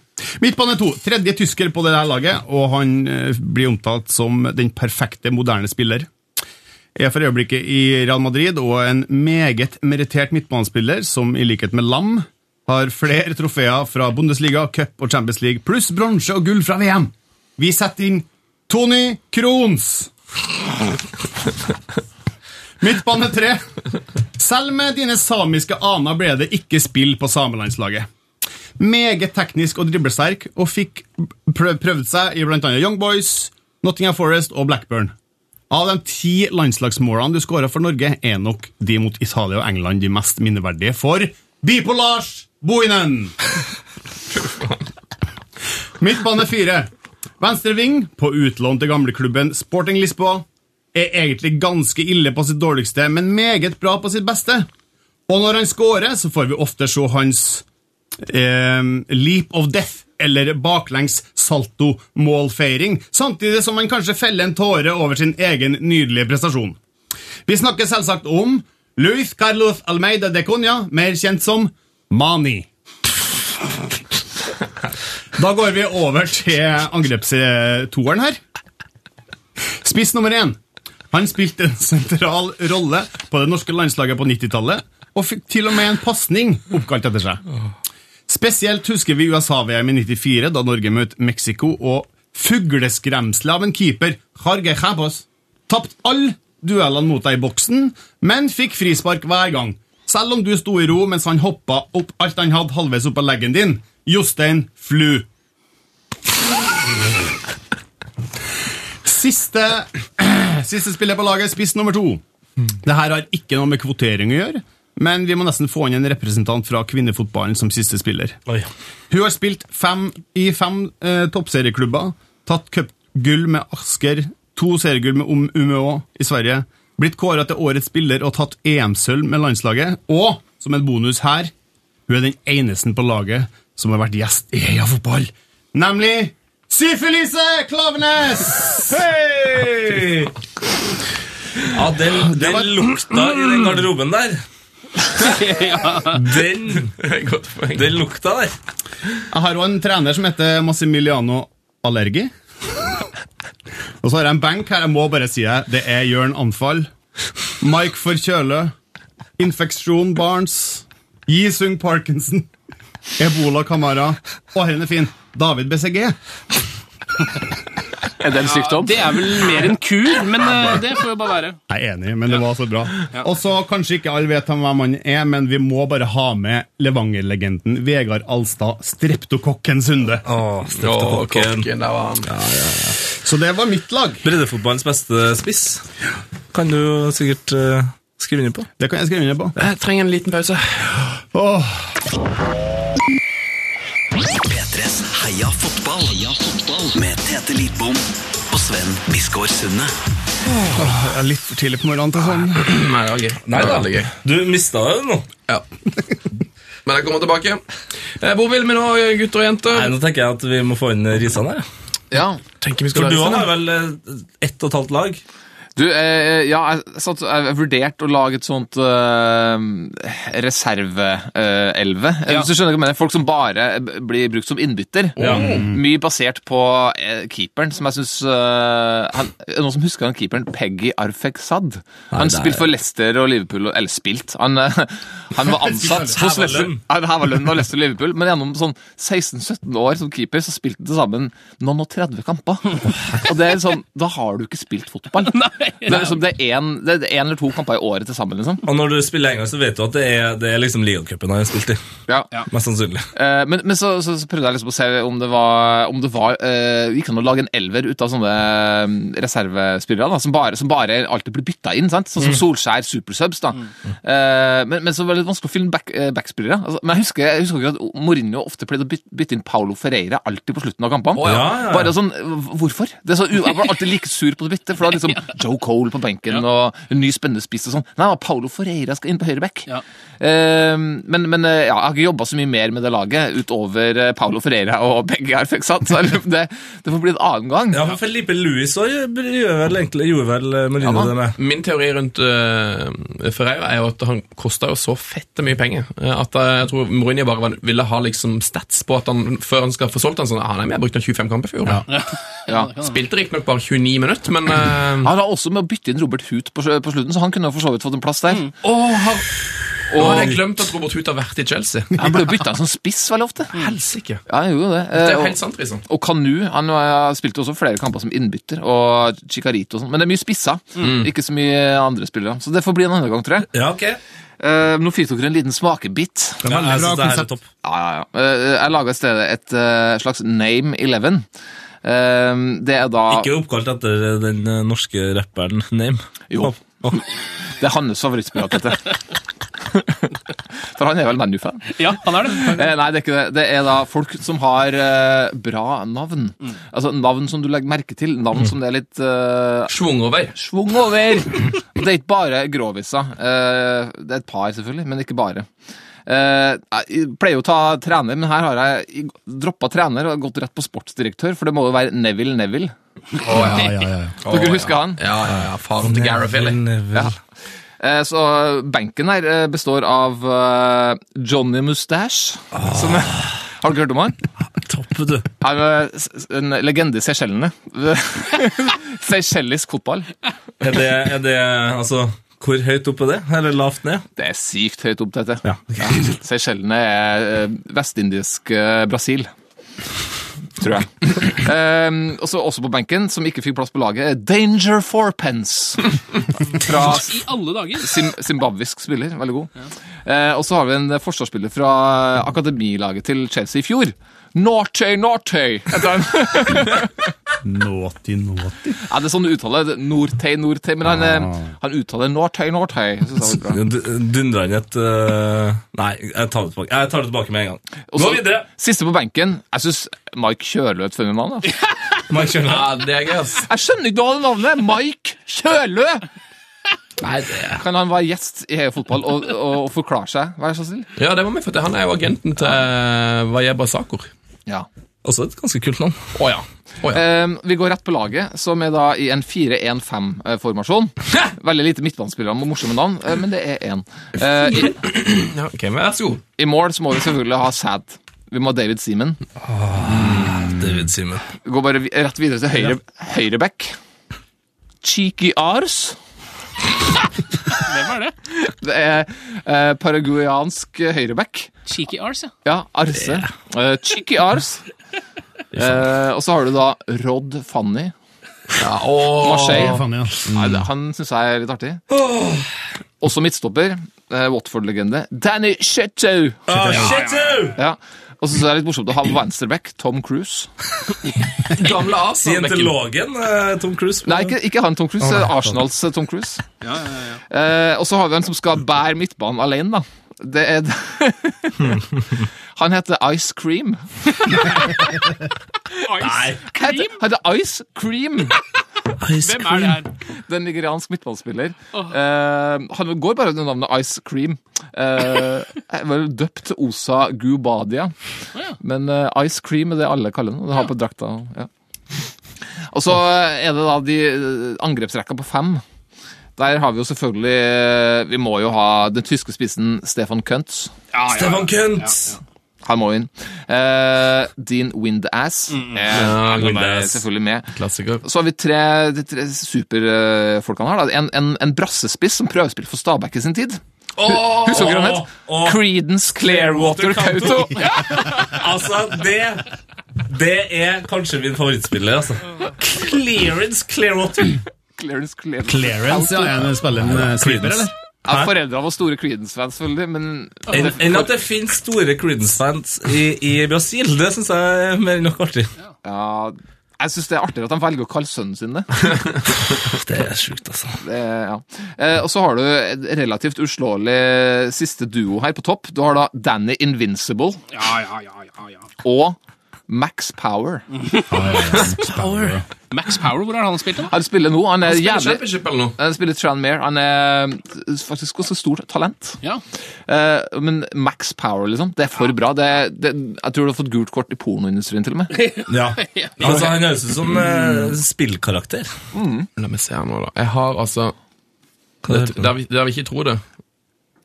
Speaker 7: Midtbane to. Tredje tysker på det der laget, og han eh, blir omtalt som den perfekte moderne spiller. Er for øyeblikket i Real Madrid og en meget merittert midtbanespiller som i likhet med Lam har flere trofeer fra Bundesliga, cup og Champions League, pluss bronse og gull fra VM. Vi setter inn Tony Krohns! Midtbane tre. Selv med dine samiske aner ble det ikke spill på samelandslaget. Meget teknisk og driblesterk, og fikk prøv, prøvd seg i bl.a. Young Boys, Nottingham Forest og Blackburn. Av de ti landslagsmålene du skåra for Norge, er nok de mot Italia og England de mest minneverdige for Bipolars Boinen! Midtbane fire. Venstre ving, på utlån til gamleklubben Sporting Lisboa, er egentlig ganske ille på sitt dårligste, men meget bra på sitt beste. Og når han scorer, så får vi ofte se hans eh, leap of death, eller baklengs salto-målfeiring, samtidig som han kanskje feller en tåre over sin egen nydelige prestasjon. Vi snakker selvsagt om Luis Carlos Almeida de Cunha, mer kjent som Mani. Da går vi over til angrepstoeren her. Spiss nummer én. Han spilte en sentral rolle på det norske landslaget på 90-tallet, og fikk til og med en pasning oppkalt etter seg. Spesielt husker vi USA-VM i 94, da Norge møtte Mexico, og fugleskremselet av en keeper, Jorge Cabos, tapt alle duellene mot deg i boksen, men fikk frispark hver gang. Selv om du sto i ro mens han hoppa opp alt han hadde halvveis opp av leggen din. Jostein Flu. Siste, siste spiller på laget, spiss nummer to. Det her har ikke noe med kvotering å gjøre, men vi må nesten få inn en representant fra kvinnefotballen som siste spiller.
Speaker 4: Oi.
Speaker 7: Hun har spilt fem, i fem eh, toppserieklubber, tatt cupgull med Asker, to seriegull med um Umeå i Sverige, blitt kåra til årets spiller og tatt EM-sølv med landslaget, og, som en bonus her, hun er den eneste på laget som har vært gjest i Heia Fotball, nemlig Syfilise Klavenes! Hei!
Speaker 4: Ja, den, den
Speaker 7: var-
Speaker 4: lukta i den garderoben der. Den,
Speaker 3: Godt poeng.
Speaker 4: den lukta der.
Speaker 7: Jeg har òg en trener som heter Massimiliano Allergi. Og så har jeg en benk her. Jeg må bare si det. Det er Jørn Anfall. Mike Forkjøle. Infeksjon Barnes. Jisung Parkinson. Ebola Kamara. Og her er fin. David BCG.
Speaker 6: Er det en sykdom?
Speaker 5: Det er vel mer en kur, men eh, det får jo bare være.
Speaker 7: Jeg er enig, men det var så bra. Og så Kanskje ikke alle vet hvem han er, men vi må bare ha med Levanger-legenden Vegard Alstad, streptokokken Sunde.
Speaker 4: Åh,
Speaker 3: Å,
Speaker 4: streptokokken.
Speaker 3: kokken, der var han.
Speaker 7: Så det var mitt lag.
Speaker 4: Breddefotballens beste spiss. Kan du sikkert eh, skrive under på.
Speaker 7: Det kan jeg skrive under på.
Speaker 3: Jeg trenger en liten pause.
Speaker 7: Åh.
Speaker 2: P3s Heia fotball. Heia fotball. Med Tete Lidbom og Sven Biskår Sunde.
Speaker 7: Det er litt for tidlig på morgenen til sånn.
Speaker 3: Nei, det var gøy. Det var veldig gøy.
Speaker 4: Du mista det nå.
Speaker 3: Ja. Men jeg kommer tilbake. Eh, Hvor vil vi nå, gutter og jenter?
Speaker 4: Nei, Nå tenker jeg at vi må få inn Risan her. ja.
Speaker 6: Ja.
Speaker 3: tenker vi
Speaker 4: For du
Speaker 3: lage
Speaker 4: har
Speaker 3: sånn, ja.
Speaker 4: vel eh, ett og et halvt lag.
Speaker 6: Du, eh, ja, jeg, satt, jeg vurderte å lage et sånt eh, reserveelve. Eh,
Speaker 5: Ja.
Speaker 6: Hvis du skjønner hva jeg mener. Folk som bare eh, b- blir brukt som innbytter. Mye basert på eh, keeperen, som jeg syns uh, Noen som husker han keeperen Peggy Arfek Sad? Han
Speaker 4: det er-
Speaker 6: spilte for Leicester og Liverpool og- Eller spilt. Han, eh, han var ansatt hos
Speaker 4: Heva
Speaker 6: Leicester.
Speaker 4: lønn.
Speaker 6: Han heva lønn og Leicester og Liverpool, men gjennom sånn 16-17 år som keeper så spilte han til sammen noen og 30 kamper. Og det er sånn, da har du ikke spilt fotball.
Speaker 5: Nei.
Speaker 6: Det er liksom det er en- det er en eller to kamper i året til sammen, liksom.
Speaker 4: Og når du spiller engelsk, så vet du at det er, det er liksom ligacupen han har spilt i.
Speaker 6: Ja.
Speaker 4: Mest sannsynlig.
Speaker 6: Eh, Men, men så, så, så prøvde jeg liksom å se om det var, om det var eh, Gikk an å lage en elver ut av sånne eh, reservespillere da, som bare, som bare alltid blir bytta inn. sant? Sånn som Solskjær, supersubs. da. Eh, men, men så var det litt vanskelig å finne back, eh, backspillere. Altså, men jeg husker, jeg husker ikke at Mourinho ofte pleide å bytte, bytte inn Paulo Ferreira alltid på slutten av kampene.
Speaker 4: ja. Ja, ja, ja.
Speaker 6: Bare sånn, eh, Hvorfor? Det er så, u- jeg var alltid like sur på det byttet. For da liksom Joe Cole på benken og en ny spennende spiss og sånn. Nei, Paulo Ferreira skal inn på høyre back.
Speaker 5: Ja.
Speaker 6: Eh, men men eh, ja, jeg har ikke jobba så mye mer med det laget utover eh, Paulo Ferreira og begge her, fikk sant? Så jeg lurer på om det, det får bli en annen gang.
Speaker 4: Ja, for Felipe Louis også gjør vel egentlig gjorde vel eh, Mourinho
Speaker 6: Ja, da.
Speaker 4: det med.
Speaker 3: Min teori rundt eh, Ferreira er jo at han kosta jo så fette mye penger eh, at eh, jeg tror Mourinho bare var- ville ha liksom stats på at han før han skal få solgt han sånn ah, nei, men jeg brukte han 25 kamper i fjor. Ja.
Speaker 6: Ja.
Speaker 3: Spilte riktignok bare 29 minutter, men eh,
Speaker 6: Han har også med å bytte inn Robert Hoot på, sl- på slutten, så han kunne jo for så vidt fått en plass der.
Speaker 3: å, har, Og jeg har glemt at Robert Hoot har vært i Chelsea.
Speaker 6: Han ble jo bytta en sånn spiss veldig ofte.
Speaker 3: Helsike.
Speaker 6: Ja, han gjorde jo det.
Speaker 3: Mm. Det
Speaker 6: Eh,
Speaker 3: er jo
Speaker 6: og-
Speaker 3: helt sant, liksom.
Speaker 6: Og Kanu han eh, spilte også flere kamper som innbytter, og Chicarito og sånn. Men det er mye spisser,
Speaker 4: Mm.
Speaker 6: ikke så mye andre spillere. Så det får bli en annen gang, tror jeg.
Speaker 4: Ja, ok.
Speaker 6: Eh, nå fikk dere en liten smakebit.
Speaker 4: Ja, jeg synes det her er topp.
Speaker 6: Ja, ja, ja. Eh, jeg laga i stedet et eh, slags Name 11. Eh, det er da
Speaker 4: Ikke oppkalt etter den eh, norske rapperen Name.
Speaker 6: Jo.
Speaker 4: Å, å.
Speaker 6: Det er hans favorittspiller, Petter. For han er vel ManU-fan?
Speaker 5: Ja, han er det.
Speaker 6: Eh, nei, det er ikke det. Det er da folk som har eh, bra navn.
Speaker 4: Mm.
Speaker 6: Altså navn som du legger merke til. Navn som det er litt eh,
Speaker 3: Svung over.
Speaker 6: Svung over! Og det er ikke bare gråviser. Eh, Det er et par, selvfølgelig, men ikke bare. Eh, Jeg pleier jo å ta trener, men her har jeg droppa trener og gått rett på sportsdirektør, for det må jo være Neville Neville. Dere husker han?
Speaker 3: Ja, ja, ja. Faren til Gareth Philly.
Speaker 4: Ja.
Speaker 6: Eh, Så benken her eh, består av eh, Johnny Mustache. Som, har dere hørt om han?
Speaker 4: Topp, du.
Speaker 6: Han er s- s- en legende i Seychellene. Seychellisk fotball.
Speaker 4: Er det, er det Altså, hvor høyt opp er det? Eller lavt ned?
Speaker 6: Det er sykt høyt opp, dette.
Speaker 4: Ja.
Speaker 6: Seychellene er eh, vestindisk eh, Brasil. Tror jeg. Ehm, og så også på benken, som ikke fikk plass på laget, er Danger Fourpence. Fra
Speaker 5: I alle dager.
Speaker 6: Zim zimbabwisk spiller. Veldig god. Eh, og så har vi en eh, forsvarsspiller fra eh, akademilaget til Chelsea i fjor. Nortøy, Nortøy! heter han.
Speaker 7: Naughty, naughty.
Speaker 6: Ja, det er sånn du uttaler det. Nortøy, Nortøy. Men han, eh, han uttaler Nortøy, Nortøy. Jeg synes det var bra.
Speaker 4: Dundra inn et eh, Nei, jeg tar det tilbake Jeg tar det tilbake med en gang.
Speaker 6: Og så-
Speaker 4: Gå videre!
Speaker 6: Siste på benken. Jeg syns Mike Kjølø er et funny navn. da.
Speaker 4: Mike Kjønland.
Speaker 3: Ja, det er gøy, ass.
Speaker 6: Jeg skjønner ikke hva det navnet er. Mike Kjølø!
Speaker 3: Nei, det er...
Speaker 6: Kan han være gjest i Heia Fotball og, og, og forklare seg? Vær så snill.
Speaker 3: Ja, det var meg, for det- han er jo agenten til eh, Vajeba Sakor.
Speaker 6: Ja.
Speaker 4: Også et ganske kult navn.
Speaker 3: Å ja. Å, ja.
Speaker 6: Ehm, vi går rett på laget, som er da i en 4-1-5-formasjon. Veldig lite midtbanespillere med morsomme navn, eh, men det er én. Eh, i,
Speaker 3: ja ok, men Vær så god.
Speaker 6: I mål så må vi selvfølgelig ha Sad. Vi må ha David Seaman.
Speaker 4: David Simen.
Speaker 6: Vi går bare vi- rett videre til høyre, høyreback. Cheeky Ars.
Speaker 5: Hvem er det?
Speaker 6: Det er eh, paraguayansk eh, høyreback.
Speaker 5: Cheeky Ars, ja.
Speaker 6: Ja, Arse. Eh, cheeky Ars. Eh, og så har du da Rod Fanny.
Speaker 3: Ja, å,
Speaker 6: Marseille.
Speaker 7: Faen, ja.
Speaker 6: Nei, det, han syns jeg er litt artig. Også midtstopper. Eh, Watford-legende. Danny Shetto!
Speaker 4: Ah, shit, du!
Speaker 6: Ja. Og så synes jeg det er litt morsomt å ha venstreback Tom Cruise.
Speaker 3: Gamle Arsenal-bekken.
Speaker 4: Scientologen eh, Tom Cruise.
Speaker 6: Nei, ikke, ikke han Tom Cruise. eh, Arsenals eh, Tom Cruise. Eh, og så har vi en som skal bære midtbanen alene, da. Det er Han heter Ice Cream.
Speaker 5: Ice.
Speaker 6: Han heter, han heter Ice Cream!
Speaker 5: Hvem er det her?
Speaker 6: Den nigeriansk midtballspiller.
Speaker 5: Åh.
Speaker 6: Eh, han går bare under navnet Ice Cream. Uh, var døpt Osa Gubadia,
Speaker 5: ja.
Speaker 6: men eh, Ice Cream er det alle kaller den. og Den har på drakta. Ja. Og så er det da de eh, angrepsrekka på fem. Der har vi jo selvfølgelig eh, Vi må jo ha den tyske spissen Stefan Kuntz.
Speaker 4: Stefan Kunt!
Speaker 6: Han må inn. Eh, Dean Windass
Speaker 4: Mm.
Speaker 6: er
Speaker 3: Ja,
Speaker 6: han er
Speaker 4: Windass.
Speaker 6: selvfølgelig med.
Speaker 3: Klassiker.
Speaker 6: Så har vi tre, de tre superfolkene her. Da. En, en, en brassespiss som prøvespilte for Stabæk i sin tid. Husker dere hva han het?
Speaker 4: Åh, åh.
Speaker 6: Creedence Clearwater Kautokeino.
Speaker 4: altså, det Det er kanskje min favorittspiller, altså. Clearance Clearwater.
Speaker 6: Clearance Clearwater.
Speaker 7: Clarence, ja. Er han spiller en eh, sweeper, eller?
Speaker 6: Ja, Foreldrene var store Creedence-fans, selvfølgelig, men
Speaker 4: Enn enn at det finnes store Creedence-fans i, i Brasil. Det syns jeg er mer enn nok artig.
Speaker 6: ja, jeg syns det er artigere at han velger å kalle sønnen sin det.
Speaker 4: Det er sjukt, altså.
Speaker 6: det ja. eh, og så har du et relativt uslåelig siste duo her på topp. Du har da Danny Invincible
Speaker 5: Ja, ja, ja, ja, ja.
Speaker 6: og Max Power.
Speaker 5: Max Power, hvor har han spilt? da?
Speaker 6: Han spiller nå. Han er
Speaker 3: Spiller
Speaker 6: jævlig
Speaker 3: Championship eller noe?
Speaker 6: Han spiller Tranmere. Han er faktisk ganske stort talent.
Speaker 5: Ja.
Speaker 6: Eh, men Max Power, liksom. Det er for bra. Det, det, jeg tror du har fått gult kort i pornoindustrien, til og med.
Speaker 4: Ja. Altså, han høres ut som eh, spillkarakter.
Speaker 3: La meg se her nå, da. Jeg har altså det, der, vi, der vi ikke tror det,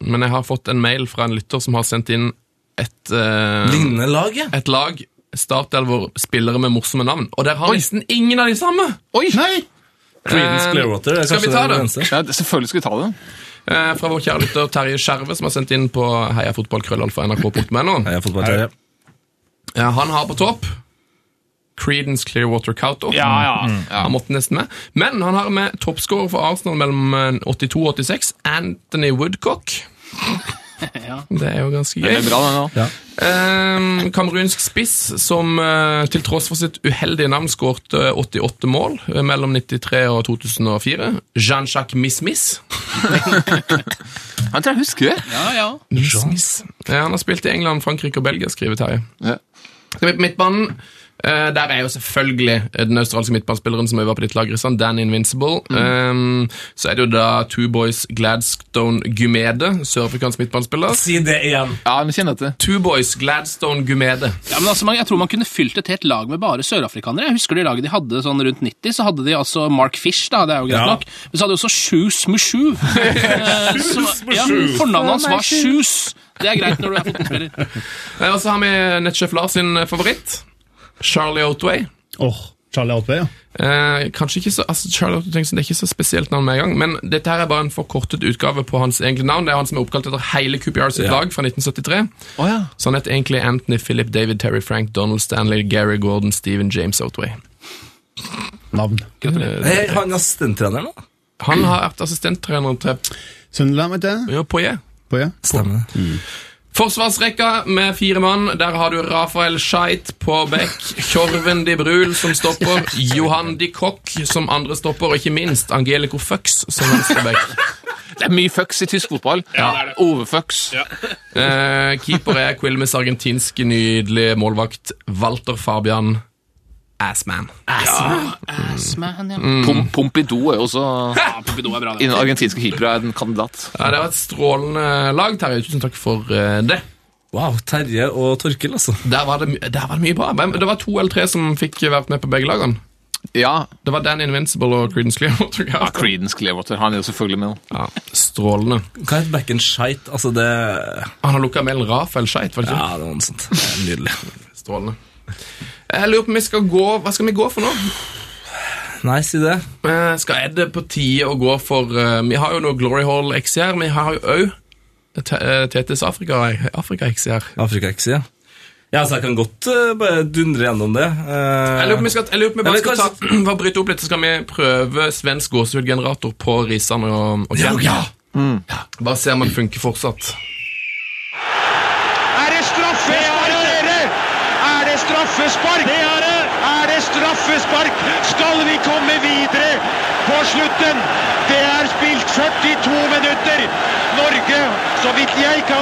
Speaker 3: men jeg har fått en mail fra en lytter som har sendt inn et, eh,
Speaker 4: Lignende lag, ja.
Speaker 3: et lag, Startelver, spillere med morsomme navn. Og der har nesten ingen av de samme!
Speaker 6: Oi!
Speaker 7: Nei!
Speaker 4: Creedence
Speaker 3: Eh,
Speaker 4: Clearwater er
Speaker 3: skal vi
Speaker 4: kanskje
Speaker 3: ta
Speaker 4: den
Speaker 3: det?
Speaker 4: eneste.
Speaker 6: Ja, det- selvfølgelig skal vi ta det.
Speaker 3: eh, fra vår kjære lytter Terje Skjerve, som har sendt inn på heiafotballkrøllalfa.nrk.no.
Speaker 4: Jeg har fått bare Terje.
Speaker 3: Eh, han har på topp Creedence Clearwater Couto.
Speaker 5: Ja, ja.
Speaker 3: Han måtte nesten med. Men han har med toppskårer for Arsenal mellom eh, 82 og 86, Anthony Woodcock.
Speaker 5: Ja.
Speaker 3: Det er jo ganske gøy.
Speaker 6: Det er bra, den òg.
Speaker 3: Eh, kamerunsk spiss som eh, til tross for sitt uheldige navn skårte 88 mål eh, mellom 93 og 2004. Jean-Jacques Miss-Miss.
Speaker 6: Jeg tror jeg husker det.
Speaker 5: ja, ja.
Speaker 3: Eh, han har spilt i England, Frankrike og Belgia, skriver Terje.
Speaker 6: Ja.
Speaker 3: Så vi på midtbanen. eh, der er jo selvfølgelig eh, den australske midtbanespilleren som øver på ditt lag, Kristian, Dan Invincible. Eh, så er det jo da Two Boys Gladstone Gumede, sørafrikansk midtbanespiller.
Speaker 4: Si det igjen.
Speaker 6: Ja, men kjenner jeg til.
Speaker 3: Two Boys Gladstone Gumede.
Speaker 5: ja men altså, man- Jeg tror man kunne fylt et helt lag med bare sørafrikanere. Jeg husker det laget de hadde sånn rundt 90, så hadde de altså Mark Fish, da, det er jo
Speaker 4: Ja.
Speaker 5: greit nok. Men så hadde de også Shoes Mushu. Eh, som- ja, Fornavnet hans var Shoes. Det er greit når du er fotballspiller.
Speaker 3: Eh, Og så har vi nettsjef Lars sin eh, favoritt. Charlie Otway.
Speaker 7: Åh, Charlie Outway, ja.
Speaker 3: Eh, kanskje ikke så, altså Charlie Otway Tengsen, Det er ikke så spesielt navn med en gang, men dette her er bare en forkortet utgave på hans egentlige navn. Det er han som er oppkalt etter hele QPR sitt
Speaker 4: Ja.
Speaker 3: lag fra 1973. Så han heter egentlig Anthony Philip David Terry Frank Donald Stanley Gary Gordon Stephen James Otway.
Speaker 7: Navn.
Speaker 3: Eh,
Speaker 4: Hey, han assistenttreneren, da?
Speaker 3: han har vært assistenttrener til
Speaker 7: Sunderland, vet du?
Speaker 3: ja, Poyet.
Speaker 7: På, ja.
Speaker 4: Stemmer det.
Speaker 3: Forsvarsrekka med fire mann. Der har du Rafael Scheit på bekk, Tjorven de Brul som stopper, Johan de Kock som andre stopper, og ikke minst Angelico Føx som venstre bekk.
Speaker 6: Det er mye fucks i tysk fotball. Ove Fucks.
Speaker 3: Eh, keeper er Quilmes argentinske nydelige målvakt Walter Fabian Assman.
Speaker 5: Assman, ja.
Speaker 6: Pom Pompidou er jo også
Speaker 5: Ja, Pompidou er bra, det.
Speaker 6: Innen argentinske keepere er en kandidat.
Speaker 3: Ja, det var et strålende lag, Terje. Tusen takk for eh, det.
Speaker 4: Wow, Terje og Torkil, altså.
Speaker 3: Der var det, my- der var det mye bra. Hvem- Det var to eller tre som fikk vært med på begge lagene.
Speaker 6: Ja,
Speaker 3: Det var Dan Invincible og Creedence Clearwater.
Speaker 6: ja
Speaker 3: Revival.
Speaker 6: Creedence Clearwater. Han er jo selvfølgelig med nå.
Speaker 3: Ja, strålende.
Speaker 4: Hva heter backen Shite? Altså, det
Speaker 3: Han har lukka mailen Rafael Scheit, var det ikke?
Speaker 4: Ja, det var noe sånt. Det er Nydelig.
Speaker 3: Strålende. Jeg lurer på om vi skal gå Hva skal vi gå for nå?
Speaker 4: Nei, si det.
Speaker 3: Eh, skal er det på tide å gå for eh, Vi har jo noe Glory Hall XC her, men vi har jo òg TTs eh, Afrika, Afrika XC her.
Speaker 4: Afrika-X, ja. Ja, så jeg kan godt eh, bare dundre gjennom det. Eh,
Speaker 3: Jeg lurer på om vi skal, jeg lurer på om vi bare
Speaker 4: Eller
Speaker 3: skal ta, bare bryte opp litt, så skal vi prøve svensk gåsehudgenerator på Risan og, og Kjell. Ja, Bare se om den funker fortsatt.
Speaker 8: Er det straffespark, dere? Er det straffespark? Det er det! Er det straffespark? Skal vi komme videre på slutten? Det er spilt 42 minutter. Norge, så vidt jeg kan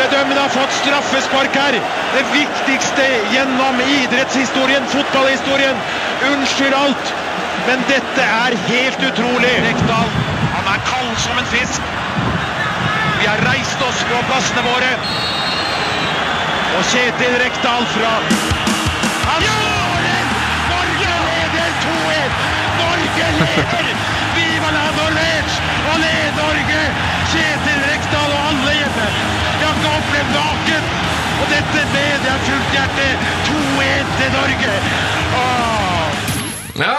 Speaker 8: bedømme, har fått straffespark her. Det viktigste gjennom idrettshistorien, fotballhistorien. Unnskyld alt, men dette er helt utrolig. Rekdal, han er kald som en fisk. Vi har reist oss på plassene våre. Og Kjetil Rekdal fra Han skårer! Norge leder 2-1! Norge leder! Viva la Norwich! Og led Norge! Kjetil Rekdal og alle hjemme. Jeg har ikke opplevd maken. Og dette med jeg fullt hjerte. 2-1 til Norge. Åh.
Speaker 3: Ja,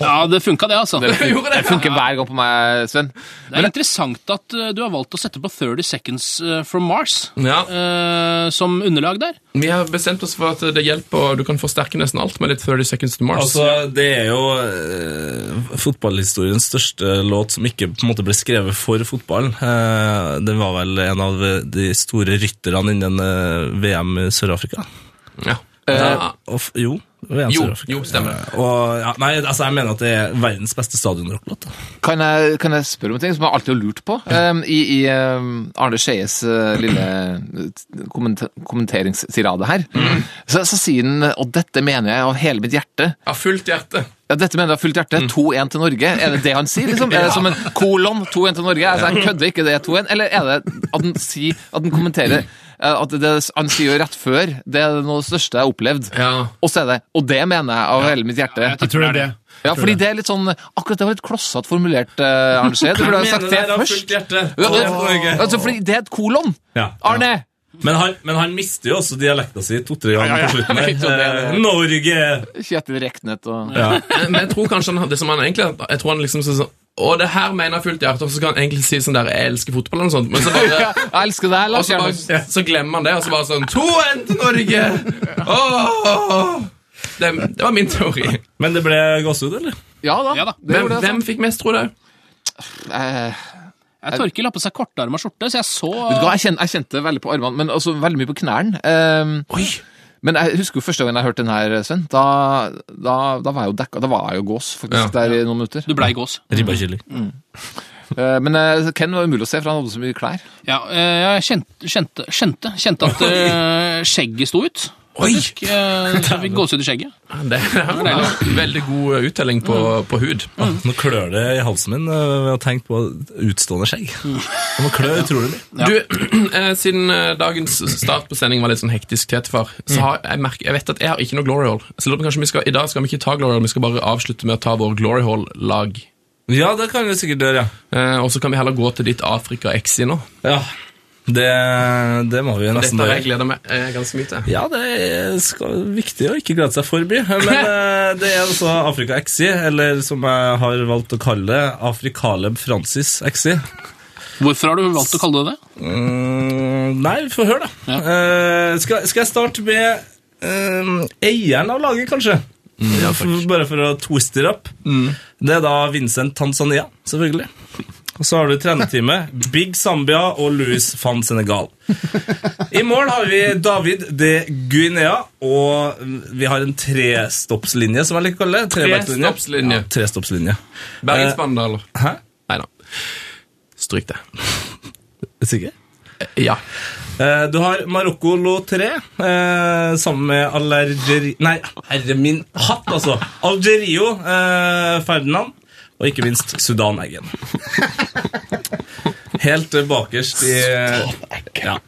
Speaker 5: Ja, det funka, det, altså.
Speaker 6: Det
Speaker 3: Gjorde det?
Speaker 6: funker, det funker hver gang på meg, Sven.
Speaker 5: Det er interessant at eh, du har valgt å sette på 30 Seconds eh, from Mars
Speaker 6: Mm.
Speaker 3: ja.
Speaker 5: eh, som underlag der.
Speaker 3: Vi har bestemt oss for at det hjelper, og du kan forsterke nesten alt med ditt 30 Seconds to Mars.
Speaker 4: Altså, det er jo eh, fotballhistoriens største låt som ikke på en måte ble skrevet for fotballen. Eh, den var vel en av de store rytterne innen eh, VM i Sør-Afrika.
Speaker 3: ja.
Speaker 4: Eh,
Speaker 3: Ja.
Speaker 4: og f- jo, VM
Speaker 3: Jo,
Speaker 4: Sør-Afrika.
Speaker 3: jo, stemmer det.
Speaker 4: Eh, Og, ja, nei, altså, jeg mener at det er verdens beste stadionrocklåt. da.
Speaker 6: Kan jeg, kan jeg spørre om en ting som jeg alltid har lurt på? Ehm, I i ehm, Arne Skeies eh, lille eh, kommenta- kommenteringstirade her, så, så sier han Og dette mener jeg av hele mitt hjerte.
Speaker 3: Av fullt hjerte.
Speaker 6: Ja, dette mener jeg av fullt hjerte. 2-1 til Norge. Er det det han sier? liksom? Er det som en kolon 2-1 til Norge? Altså, jeg kødder ikke, det er 2-1. Eller er det at han sier At han kommenterer eh, at det han sier jo rett før, det er noe av det største jeg har opplevd.
Speaker 3: Ja.
Speaker 6: Og så er det Og det mener jeg av hele mitt hjerte.
Speaker 7: Jeg tror det er det.
Speaker 6: Ja, fordi det er litt sånn Akkurat det var litt klossete formulert, eh, Arne Skei. Du burde ha sagt det først. Ja, det, altså, fordi det er et kolon.
Speaker 4: Ja.
Speaker 6: Arne!
Speaker 4: Men han, men han mister jo også dialekta si to-tre ganger på slutten.
Speaker 6: Jeg vet jo
Speaker 4: der.
Speaker 6: det.
Speaker 4: Eh, Norge!
Speaker 6: Kjetil Reknet og
Speaker 3: Eh, Men jeg tror kanskje han, det som han egentlig Jeg tror han liksom så- så- Og det her mener jeg fullt hjerte, og så kan han egentlig si sånn der, jeg elsker fotball og sånt, men så bare...
Speaker 6: Jeg elsker deg,
Speaker 3: Og
Speaker 6: Lars
Speaker 3: så,
Speaker 6: Jernås.
Speaker 3: bare, så glemmer han det, og så bare sånn 2-1 til Norge! Åh! Det, det var min teori.
Speaker 4: Men det ble gåsehud, eller?
Speaker 6: Ja da.
Speaker 5: Ja da.
Speaker 6: Det
Speaker 3: Men
Speaker 6: gjorde det,
Speaker 3: hvem
Speaker 6: altså.
Speaker 3: fikk mest, tror du?
Speaker 6: Eh,
Speaker 5: Jeg Torkil har på seg kortarma skjorte, så jeg så
Speaker 6: vet du hva, jeg, kjente, jeg kjente veldig på armene, men også veldig mye på knærne. Ehm, men jeg husker jo første gangen jeg hørte den her, Sven. Da, da, da var jeg jo dekka. Da var jeg jo gås, faktisk, der i noen minutter.
Speaker 5: Du eh, blei gås.
Speaker 4: Ribba kylling.
Speaker 6: Eh, men eh, Ken var umulig å se, for han hadde så mye klær.
Speaker 5: Ja, eh, jeg kjente, kjente, kjente, kjente at eh, skjegget sto ut. Faktisk. Eh, Så jeg fikk gåsehud i skjegget.
Speaker 3: Det er en veldig god eh, uttelling på, på hud.
Speaker 6: Mm.
Speaker 4: Nå klør det i halsen min øh, ved å tenke på utstående skjegg. Det må klø utrolig mye.
Speaker 3: Du, eh, siden eh, dagens start på sendingen var litt sånn hektisk tetefar,
Speaker 4: Mm.
Speaker 3: så har jeg merket, jeg vet at jeg har ikke noe glory hall. Så jeg lurer på kanskje vi skal, i dag skal vi ikke ta glory hall, vi skal bare avslutte med å ta vår glory hall-lag.
Speaker 4: Ja, det kan vi sikkert gjøre, ja.
Speaker 3: Eh, og så kan vi heller gå til ditt Afrika-exi nå.
Speaker 4: ja. Det, det må vi jo
Speaker 3: Dette
Speaker 4: nesten
Speaker 3: har
Speaker 4: gjøre.
Speaker 3: jeg gleda meg eh, ganske mye til.
Speaker 4: Ja, det er skal, viktig å ikke glede seg for mye. Men eh, det er altså Afrika XI, eller som jeg har valgt å kalle det, Afrikaleb Francis XI.
Speaker 5: Hvorfor har du valgt å kalle det det?
Speaker 4: Mm, nei, vi får høre, da. Eh, skal, skal jeg starte med eh, eieren av laget, kanskje?
Speaker 3: Mm,
Speaker 4: For- Bare for å twiste det opp. Det er da Vincent Tanzania, selvfølgelig. Og så har du trenerteamet Big Zambia og Louis van Senegal. I morgen har vi David de Guinea, og vi har en trestoppslinje, som jeg liker å kalle det. Trebackslinje.
Speaker 3: Trestoppslinje.
Speaker 4: Ja, trestoppslinje.
Speaker 3: Bergensbanen, eller?
Speaker 4: Hæ?
Speaker 3: Nei da. Stryk det.
Speaker 4: Sikker?
Speaker 3: Ja.
Speaker 4: Eh, Du har Marokko Lotré eh, sammen med Algeri... Nei, herre min hatt, altså! Algerio eh, Ferdinand. Og ikke minst Sudan-eggen. Helt eh, bakerst i ja.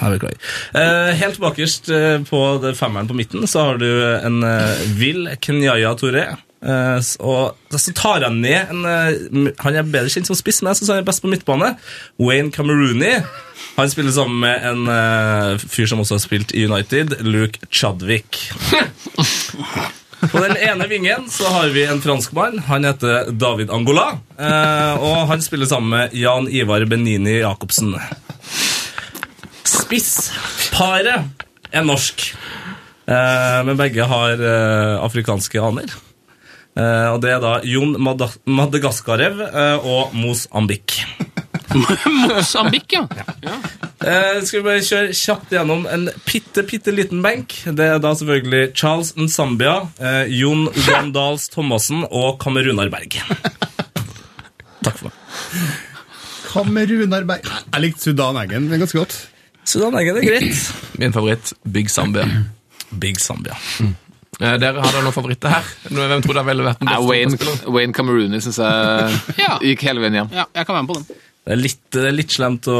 Speaker 4: Jeg beklager. Eh, helt bakerst eh, på det femmeren på midten så har du en eh, vill Kenyaya Touré. Eh, s- og så tar han ned en eh, m- Han er bedre kjent som spiss, men jeg syns han er best på midtbane. Wayne Camerooney. Han spiller sammen med en eh, fyr som også har spilt i United, Luke Chadwick. På den ene vingen så har vi en franskmann. Han heter David Angola. eh, Og han spiller sammen med Jan Ivar Benini Jacobsen. Spissparet er norsk, Eh, men begge har eh, afrikanske aner. Eh, Og det er da Jon Mada- Madagaskarev eh, og Mosambik.
Speaker 5: Mosambik, ja.
Speaker 4: Eh, skal vi bare kjøre kjapt gjennom en bitte, bitte liten benk. Det er da selvfølgelig Charles Nsambia, eh, Jon Ugandals Thomassen og Kamerunar Berg. Takk for meg.
Speaker 7: Kamerunar Berg Jeg likte Sudan Eggen det er ganske godt.
Speaker 4: Sudan Eggen er greit.
Speaker 3: Min favoritt, Big Zambia.
Speaker 4: Big Zambia.
Speaker 3: Eh, dere har da noen favoritter her? Nå, Hvem tror dere ville vært den
Speaker 4: Ah,
Speaker 6: Nei,
Speaker 3: beste
Speaker 6: Wayne,
Speaker 3: fotballspilleren?
Speaker 6: Wayne Camerooney syns jeg
Speaker 5: Ja.
Speaker 6: gikk hele veien hjem.
Speaker 5: ja. Jeg kan være med på den.
Speaker 4: Det er litt, det er litt slemt å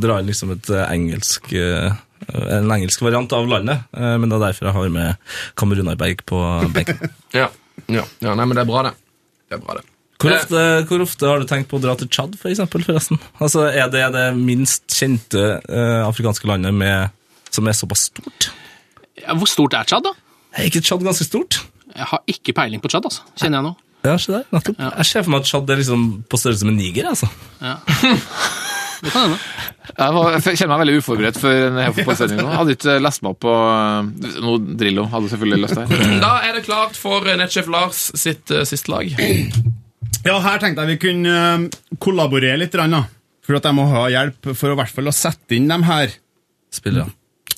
Speaker 4: dra inn liksom et eh, engelsk eh, en engelsk variant av landet, eh, men det er derfor jeg har med Kamerunar Berg på benken.
Speaker 3: Ja. Ja. ja, nei, men det er bra, det. Det er bra, det.
Speaker 4: Hvor
Speaker 3: Eh.
Speaker 4: ofte, hvor ofte har du tenkt på å dra til Tsjad, for eksempel, forresten? Altså, er det det minst kjente eh, afrikanske landet med, som er såpass stort?
Speaker 5: Ja, Hvor stort er Tsjad, da?
Speaker 4: Er ikke Tsjad ganske stort?
Speaker 5: Jeg har ikke peiling på Tsjad, altså. Kjenner jeg nå.
Speaker 4: Ja, se der, nettopp. Jeg ser for meg at Tsjad er liksom på størrelse med Niger, altså.
Speaker 5: Det kan hende.
Speaker 6: Jeg, var, jeg kjenner meg veldig uforberedt for en hel fotballsending nå. Jeg Hadde ikke lest meg opp på eh, noe Drillo. Hadde selvfølgelig løst det.
Speaker 3: Da er det klart for eh, nettsjef Lars sitt eh, siste lag.
Speaker 7: Ja, her tenkte jeg vi kunne eh, kollaborere litt, grann, da. For at jeg må ha hjelp for å, i hvert fall å sette inn de her
Speaker 4: Spiller han.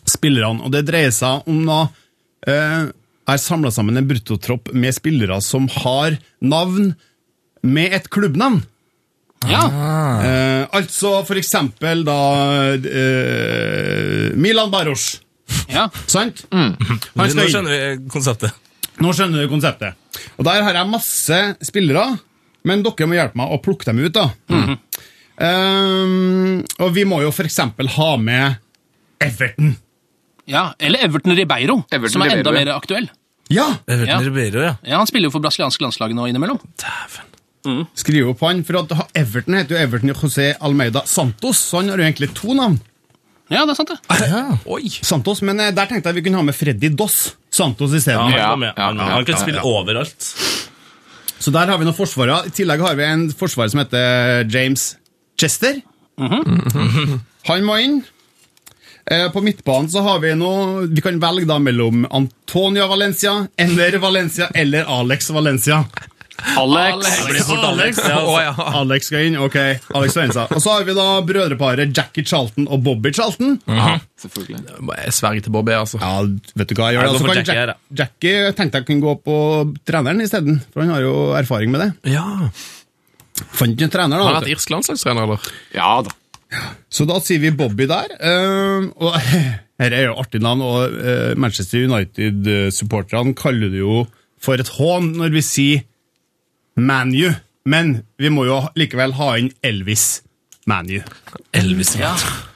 Speaker 7: spillerne. Og det dreier seg om da eh, er samla sammen en bruttotropp med spillere som har navn med et klubbnavn.
Speaker 5: Ja.
Speaker 6: Ah.
Speaker 7: Eh, altså for eksempel da eh, Milan Baros.
Speaker 5: ja.
Speaker 7: Sant?
Speaker 4: Nå
Speaker 7: Han skal inn.
Speaker 4: skjønner vi konseptet.
Speaker 7: Nå skjønner du konseptet. Og der har jeg masse spillere, men dere må hjelpe meg å plukke dem ut, da. Ehm, og vi må jo for eksempel ha med Everton.
Speaker 5: ja. Eller Everton Ribeiro,
Speaker 6: Everton
Speaker 5: som er
Speaker 6: Ribeiro,
Speaker 5: enda
Speaker 6: ja.
Speaker 5: mer aktuell.
Speaker 7: Ja!
Speaker 4: Everton
Speaker 5: Ja.
Speaker 4: Ribeiro, ja.
Speaker 5: Ja, Han spiller jo for brasilianske landslag nå innimellom.
Speaker 7: Skriv opp han, for at ha- Everton heter jo Everton José Almeida Santos, så han har jo egentlig to navn.
Speaker 5: Ja, det er sant, det.
Speaker 3: Oi!
Speaker 7: Santos, Men eh, der tenkte jeg vi kunne ha med Freddy Doss Santos isteden.
Speaker 4: Han,
Speaker 7: stedet
Speaker 6: Ja,
Speaker 4: var med.
Speaker 6: ja,
Speaker 4: han,
Speaker 6: ja,
Speaker 4: han kan
Speaker 6: ja,
Speaker 4: spille
Speaker 6: ja.
Speaker 4: overalt.
Speaker 7: Så der har vi noen forsvarere. I tillegg har vi en forsvarer som heter James Chester. Han må inn. Eh, På midtbanen så har vi noe Vi kan velge da mellom Antonia Valencia eller Valencia eller Alex Valencia.
Speaker 6: Alex!
Speaker 7: Alex,
Speaker 3: Å ja.
Speaker 7: Alex skal inn, ok. Alex skal inn, sa. Og så har vi da brødreparet Jackie Charlton og Bobby Charlton.
Speaker 6: Selvfølgelig.
Speaker 3: Jeg sverger til Bobby, altså.
Speaker 7: Ja, vet du hva
Speaker 4: Jeg
Speaker 7: jeg gjør?
Speaker 4: går
Speaker 7: Altså,
Speaker 4: for
Speaker 7: kan
Speaker 4: Jackie her,
Speaker 7: Jack, Jackie tenkte jeg kunne gå på treneren isteden, for han har jo erfaring med det.
Speaker 3: Ja.
Speaker 7: Fant ikke en trener, da.
Speaker 3: Har han vært
Speaker 7: vet du.
Speaker 3: irsk landslagstrener, eller?
Speaker 6: Ja da.
Speaker 7: Så da sier vi Bobby der. eh, og Dette er jo artig navn, og eh, Manchester United-supporterne kaller det jo for et hån når vi sier ManU. Men vi må jo likevel ha inn Elvis ManU.
Speaker 4: Elvis, ja.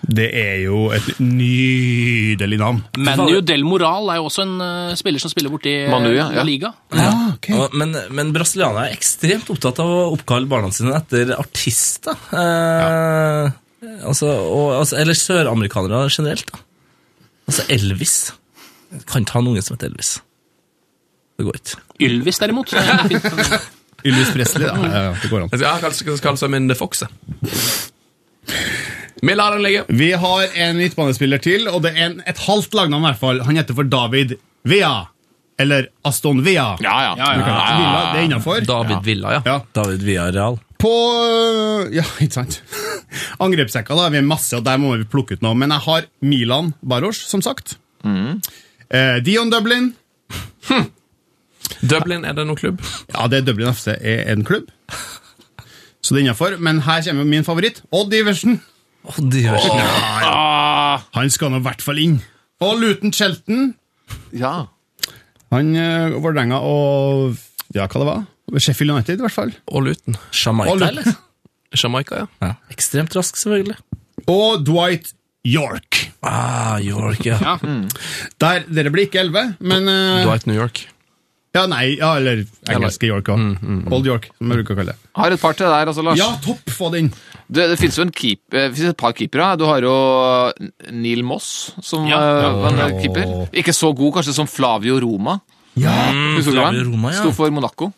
Speaker 7: Det er jo et nydelig navn.
Speaker 5: Manu Del Moral er jo også en eh, spiller som spiller borti eh,
Speaker 6: Manu, ja, ja.
Speaker 5: La Liga.
Speaker 7: Ah, ok.
Speaker 4: Og- Men, men brasilianere er ekstremt opptatt av å oppkalle barna sine etter artister. Eh, altså, og, altså, eller søramerikanere generelt. Da. Altså Elvis. Jeg kan ikke ha en unge som heter Elvis. Det går ikke.
Speaker 5: Ylvis, derimot. det er fint.
Speaker 7: Ylvis Presley, da. Ja, ja, det går an.
Speaker 3: Jeg skal kanskje kalle seg min The Fox. jeg. Vi lar den ligge.
Speaker 7: Vi har en midtbanespiller til, og det er en, et halvt lagnavn i hvert fall. Han heter for David Vea. Eller Aston Vea.
Speaker 6: Ja, ja.
Speaker 7: Villa, det er innafor.
Speaker 3: David Villa, ja.
Speaker 7: Ja.
Speaker 4: David Villarreal.
Speaker 7: På eh, Ja, ikke sant? Angrepsrekka da, vi har masse, og der må vi plukke ut noe. Men jeg har Milan Baros, som sagt. Eh, Dion Dublin.
Speaker 3: Dublin, er det noen klubb?
Speaker 7: Ja, det er Dublin FC er en klubb. Så det er innafor. Men her kommer min favoritt, Odd Iversen.
Speaker 4: Å, det gjør ikke det.
Speaker 7: Han skal nå i hvert fall inn. Og Luton Shelton.
Speaker 6: ja.
Speaker 7: Han uh, Vålerenga og Ja, hva det var? Sheffield United, i hvert fall.
Speaker 3: Og Luton.
Speaker 4: Jamaica,
Speaker 7: Og,
Speaker 4: eller?
Speaker 7: Luton.
Speaker 3: Jamaica, ja.
Speaker 4: Ja. Ekstremt rask, selvfølgelig.
Speaker 7: og Dwight York.
Speaker 4: Ah, York, ja.
Speaker 5: Ja.
Speaker 7: Der, Dere blir ikke elleve, men eh,
Speaker 3: Dwight New York.
Speaker 7: Ja, nei, ja, eller engelske York òg.
Speaker 6: Mm,
Speaker 7: Old York, som jeg bruker å kalle det.
Speaker 6: Har et par til der, altså, Lars.
Speaker 7: Ja, topp, få den!
Speaker 6: Det, det finnes jo en keep, eh, det finnes et par keepere. Du har jo Neil Moss som
Speaker 5: Ja.
Speaker 6: eh, var en
Speaker 7: Ja.
Speaker 6: keeper. Ikke så god kanskje som Flavio Roma. Husker du han?
Speaker 4: Mm, Flavio Roma, ja.
Speaker 6: Sto for Monaco.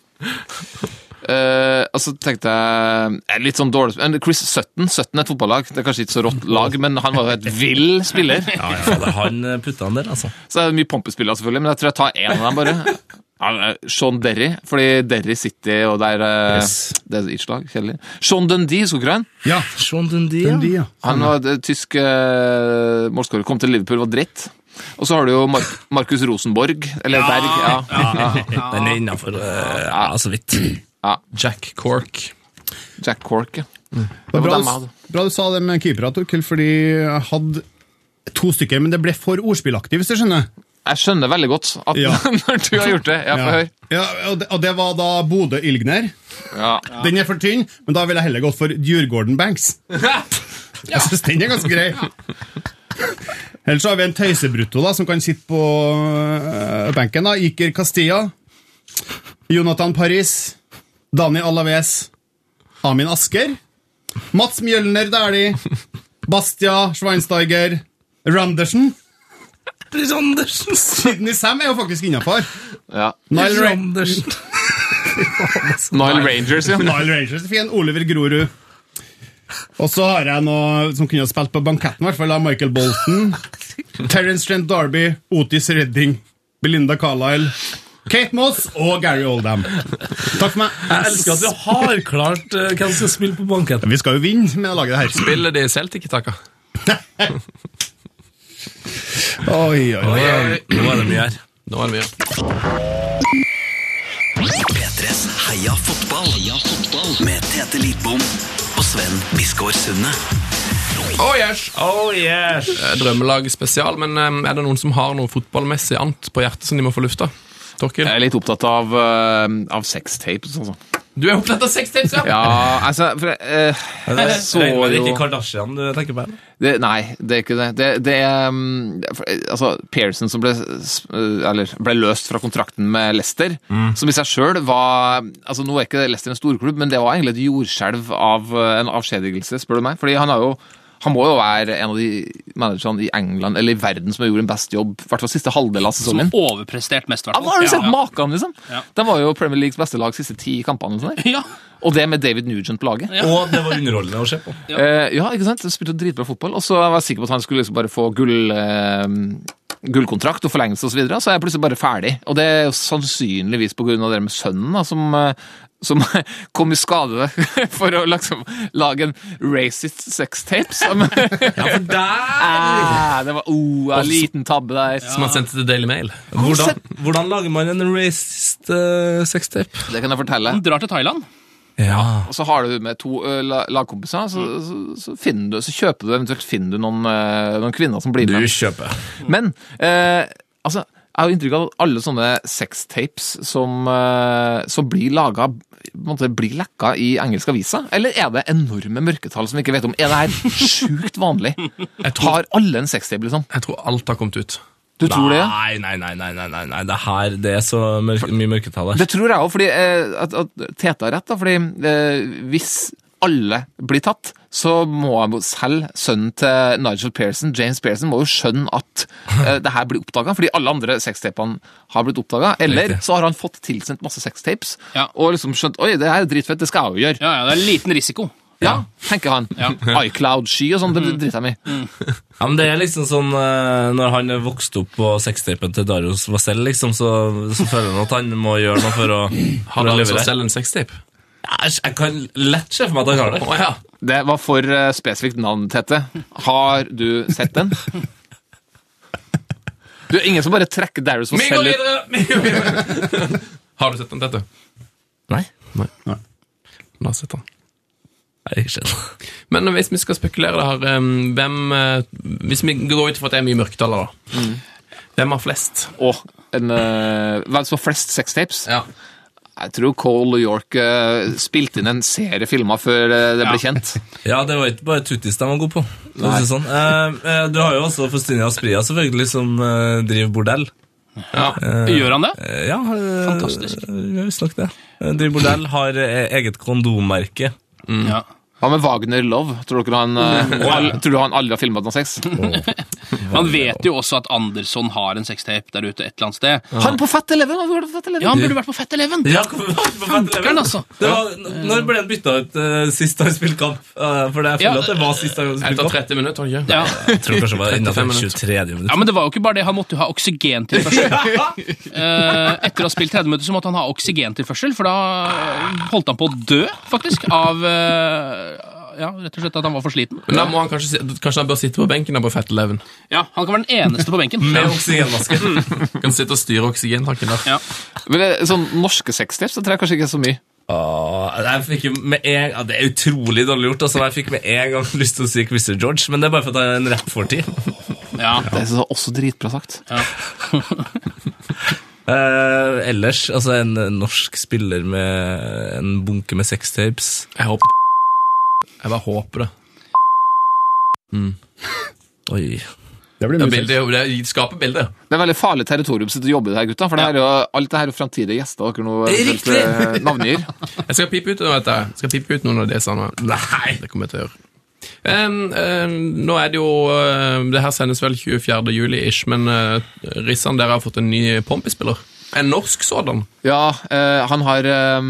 Speaker 6: Eh, og så tenkte jeg eh, Litt sånn dårlig men Chris Sutton. Sutton er et fotballag. Det er kanskje ikke så rått lag, men han var jo et vill spiller.
Speaker 4: Fader, Han eh, putta han der, altså.
Speaker 6: Så det er mye pompespillere, selvfølgelig, men jeg tror jeg tar én av dem, bare. Ja, men, eh, Sean Derry, fordi Derry City og der eh, Det er innslag, kjedelig. Sean Dundee, husker du han?
Speaker 7: Ja,
Speaker 4: Sean Dundee, ja.
Speaker 7: den de, ja.
Speaker 6: Han var det tysk uh, målskårer, kom til Liverpool, var dritt. Og så har du jo Mar Markus Rosenborg, eller Berg. Ja.
Speaker 4: Den er innafor. ja, så vidt.
Speaker 3: Jack Cork.
Speaker 6: Jack Cork. Ja.
Speaker 7: Det var
Speaker 6: var
Speaker 7: bra,
Speaker 6: dem jeg
Speaker 7: du- bra du sa det med keepere, Torkel, fordi jeg hadde to stykker, men det ble for ordspillaktig, hvis du skjønner.
Speaker 6: Jeg skjønner veldig godt at
Speaker 7: Ja.
Speaker 6: når du har gjort det Ja, få høre.
Speaker 7: Ja, og, det, og det var da Bodø-Ilgner.
Speaker 6: Ja.
Speaker 7: Den er for tynn, men da ville jeg heller gått for Djurgården Banks. Jeg synes den er ganske grei. Ellers så har vi en tøysebrutto da, som kan sitte på øh, benken. da. Iker Castilla, Jonathan Paris, Dani Alaves, Amin Asker, Mats Mjølner Dæhlie, Bastia Schweinsteiger, Randersen.
Speaker 4: Andersen!
Speaker 7: Sydney Sam er jo faktisk innafor.
Speaker 6: Ja.
Speaker 7: Nile, Ra
Speaker 4: Andersen.
Speaker 6: Nile Rangers, ja.
Speaker 7: Nile Rangers er fin. Oliver Grorud. Og så har jeg noe som kunne ha spilt på banketten, i hvert fall av Michael Bolton. Terence Trent Darby, Otis Redding, Belinda Carlisle, Kate Moss og Gary Oldham. Takk
Speaker 4: Jeg
Speaker 7: for meg.
Speaker 4: elsker at du har klart eh, hvem som skal spille på banketten.
Speaker 7: Vi skal jo vinne med å lage det her.
Speaker 3: Spiller de i Celtic, takka?
Speaker 7: Oi, oi, oi.
Speaker 4: Nå er det mye her.
Speaker 3: Nå er det mye.
Speaker 2: P3s Heia fotball. Heia fotball. Med Tete Lidbom og Sven Biskår Sunde.
Speaker 3: Oh yes! Eh, Drømmelag spesial, men eh, er det noen som har noe fotballmessig annet på hjertet som de må få lufta? Torkil,
Speaker 6: Jeg er litt opptatt av, uh, av sextapes og sånn.
Speaker 3: du er opptatt av sextapes, ja?
Speaker 6: Ja, altså for, eh, Jeg så
Speaker 4: Regner med det er
Speaker 6: jo
Speaker 4: ikke Kardashian du tenker på? Eller?
Speaker 6: det, Nei, det er ikke det. Det, det er um, det er for- Altså, Pearson som ble, s- eh, eller, ble løst fra kontrakten med Leicester, som i seg sjøl var altså Nå er ikke Leicester en storklubb, men det var egentlig et jordskjelv av eh, en avskjedigelse, spør du meg. Fordi han har jo Han må jo være en av de managerne i England eller i verden som har gjort en best jobb, i hvert fall siste halvdel av
Speaker 5: Som
Speaker 6: sesongen.
Speaker 5: overprestert mest, i hvert
Speaker 6: Ja, men Ah, har du sett
Speaker 5: Ja.
Speaker 6: maken, liksom?
Speaker 5: Ja.
Speaker 6: De var jo Premier Leagues beste lag siste ti kampene. eller noe sånt.
Speaker 5: Ja.
Speaker 6: Og det med David Nugent på laget.
Speaker 4: Og det var underholdende å se på.
Speaker 5: Ja.
Speaker 6: Eh, ja, ikke sant? Han spilte jo dritbra fotball, og så var jeg sikker på at han skulle liksom bare få gull, eh, gullkontrakt og forlengelse osv., så, videre, så er jeg plutselig bare ferdig. Og det er jo sannsynligvis pga. det med sønnen, da, som, eh, som kom i skade for å liksom lage en racist sextape. Som,
Speaker 3: Ja, for der
Speaker 6: ah, det var oh, en liten tabbe der.
Speaker 3: Som han sendte til Daily Mail.
Speaker 4: Hvordan, hvordan lager man en racist uh, sextape?
Speaker 6: Det kan jeg fortelle.
Speaker 5: Han drar til Thailand.
Speaker 4: Ja.
Speaker 6: Og så har du med to ø, la- lagkompiser, så, så, så, finner du, så kjøper du eventuelt finner du noen, ø, noen kvinner som blir
Speaker 4: Du
Speaker 6: med.
Speaker 4: kjøper.
Speaker 6: Men eh, altså, jeg har jo inntrykk av at alle sånne sextapes som, eh, som blir laga blir lekka i engelske aviser. Eller er det enorme mørketall som vi ikke vet om? Er det her sjukt vanlig? Har alle en sextape, liksom?
Speaker 3: Jeg tror alt har kommet ut.
Speaker 6: Du tror det? ja?
Speaker 4: Nei, nei, nei, nei, nei, nei, nei. Det her, det er så mørk, mye mørketall her.
Speaker 6: Det tror jeg òg, fordi eh, at, at Tete har rett. da, fordi eh, Hvis alle blir tatt, så må jeg jo selv sønnen til Nigel Pearson, James Pearson, må jo skjønne at eh, det her blir oppdaga. Fordi alle andre sextapene har blitt oppdaga. Eller
Speaker 4: Riktig.
Speaker 6: så har han fått tilsendt masse sextapes
Speaker 5: Ja.
Speaker 6: og liksom skjønt Oi, det her er dritfett, det skal jeg jo gjøre.
Speaker 5: Ja, ja, det er en liten risiko.
Speaker 6: Ja, tenker han. iCloud-sky og sånn, det driter jeg meg i.
Speaker 4: Ja, men det er liksom sånn eh, Når han vokste opp på sextapen til Darius Vasell, liksom, så, så føler han at han må gjøre noe for å
Speaker 3: Har
Speaker 4: for å
Speaker 3: han
Speaker 4: levere.
Speaker 3: så selv en sextape?
Speaker 4: Ja, Jeg kan lett se for meg at han har det.
Speaker 3: Å ja.
Speaker 6: Det var for eh, spesifikt navn, Tete. Har du sett den? Du er ingen som bare trekker Darius og
Speaker 3: Vi går
Speaker 6: selger
Speaker 3: videre!
Speaker 6: ut
Speaker 3: Vi går videre. Har du sett den, Tete?
Speaker 4: Nei.
Speaker 3: La oss sette den.
Speaker 4: Nei, ikke det.
Speaker 3: Men hvis vi skal spekulere det her, eh, hvem eh, Hvis vi går ut ifra at det er mye mørketaller, da. Hvem har flest?
Speaker 6: og en, eh, hvem som har flest sextapes.
Speaker 3: Ja.
Speaker 6: Jeg tror Cole York eh, spilte inn en serie filmer før eh, det ble kjent.
Speaker 4: Ja, det var ikke bare tuttis de var gode på. for å si det Sånn. Eh, eh, du har jo også Fastinia Aspria, selvfølgelig, som eh, driver bordell.
Speaker 5: Gjør han det?
Speaker 4: Eh, ja, eh,
Speaker 5: Fantastisk.
Speaker 4: Ja, Visstnok det. Eh, driver bordell, har eh, eget kondommerke. eh,
Speaker 5: Ja.
Speaker 6: Hva med Wagner Love? Tror dere han, eh, al tror du han aldri har filma noe sex?
Speaker 4: eh,
Speaker 5: Man vet jo også at Andersson har en sextape der ute et eller annet sted.
Speaker 6: Han på Fat Eleven! Han burde på Fat Eleven.
Speaker 5: Ja, han burde vært på Fett Eleven!
Speaker 4: Ja, kom- på Fat Eleven.
Speaker 5: Fankeren, altså.
Speaker 4: Det var, n- når ble han bytta ut eh, sist han spilte kamp? Eh, for det, jeg føler
Speaker 5: Ja,
Speaker 4: at det var sist han spilte
Speaker 3: Etter
Speaker 4: kamp.
Speaker 3: 30 minutter, har du ikke?
Speaker 5: Ja.
Speaker 4: Jeg tror kanskje det var innenfor
Speaker 3: 35 minutter.
Speaker 4: 23.
Speaker 5: ja,
Speaker 4: minutt.
Speaker 5: men det var jo ikke bare det. Han måtte jo ha oksygentilførsel. Eh, Etter å ha spilt 30 minutter så måtte han ha oksygentilførsel, for da eh, holdt han på å dø, faktisk, av eh, Ja, rett og slett at han var for sliten.
Speaker 3: Men da må han kanskje, si- kanskje han bør sitte på benken da på Fat Eleven.
Speaker 5: Ja, Han kan være den eneste på benken.
Speaker 4: Med oksygenmaske.
Speaker 3: Kan sitte og styre oksygentanken der.
Speaker 5: Ja.
Speaker 6: Men det, er sånn Norske sextapes det tror jeg kanskje ikke er så mye.
Speaker 4: Åh, jeg fikk jo med en, ja, det er utrolig dårlig gjort. Altså, jeg fikk med en gang lyst til å si Christer George, men det er bare for at han er en rapp fortid.
Speaker 5: Ja.
Speaker 6: Det er så- også dritbra sagt.
Speaker 4: Eh, ellers, altså en norsk spiller med en bunke med sextapes.
Speaker 3: Jeg håper Jeg bare håper det.
Speaker 4: Mm. Oi.
Speaker 7: Det blir
Speaker 3: Det, er
Speaker 7: mye
Speaker 3: bildet,
Speaker 7: sex.
Speaker 3: det, er jo- det skaper bilder.
Speaker 6: Det er veldig farlig territorium sitt å jobbe i det her, gutta. For det her er jo, alt det her er jo framtidige gjester dere nå eventuelt, eh, navngir.
Speaker 3: Jeg skal pipe ut noe av dette. Jeg skal pipe ut noen av det sånne. Nei! Det kommer jeg til å gjøre. Em, em, nå er det jo eh, Det her sendes vel 24. juli ish, men eh, Rissan, dere har fått en ny Pompis-spiller. En norsk sådan.
Speaker 6: Ja, eh, han har eh,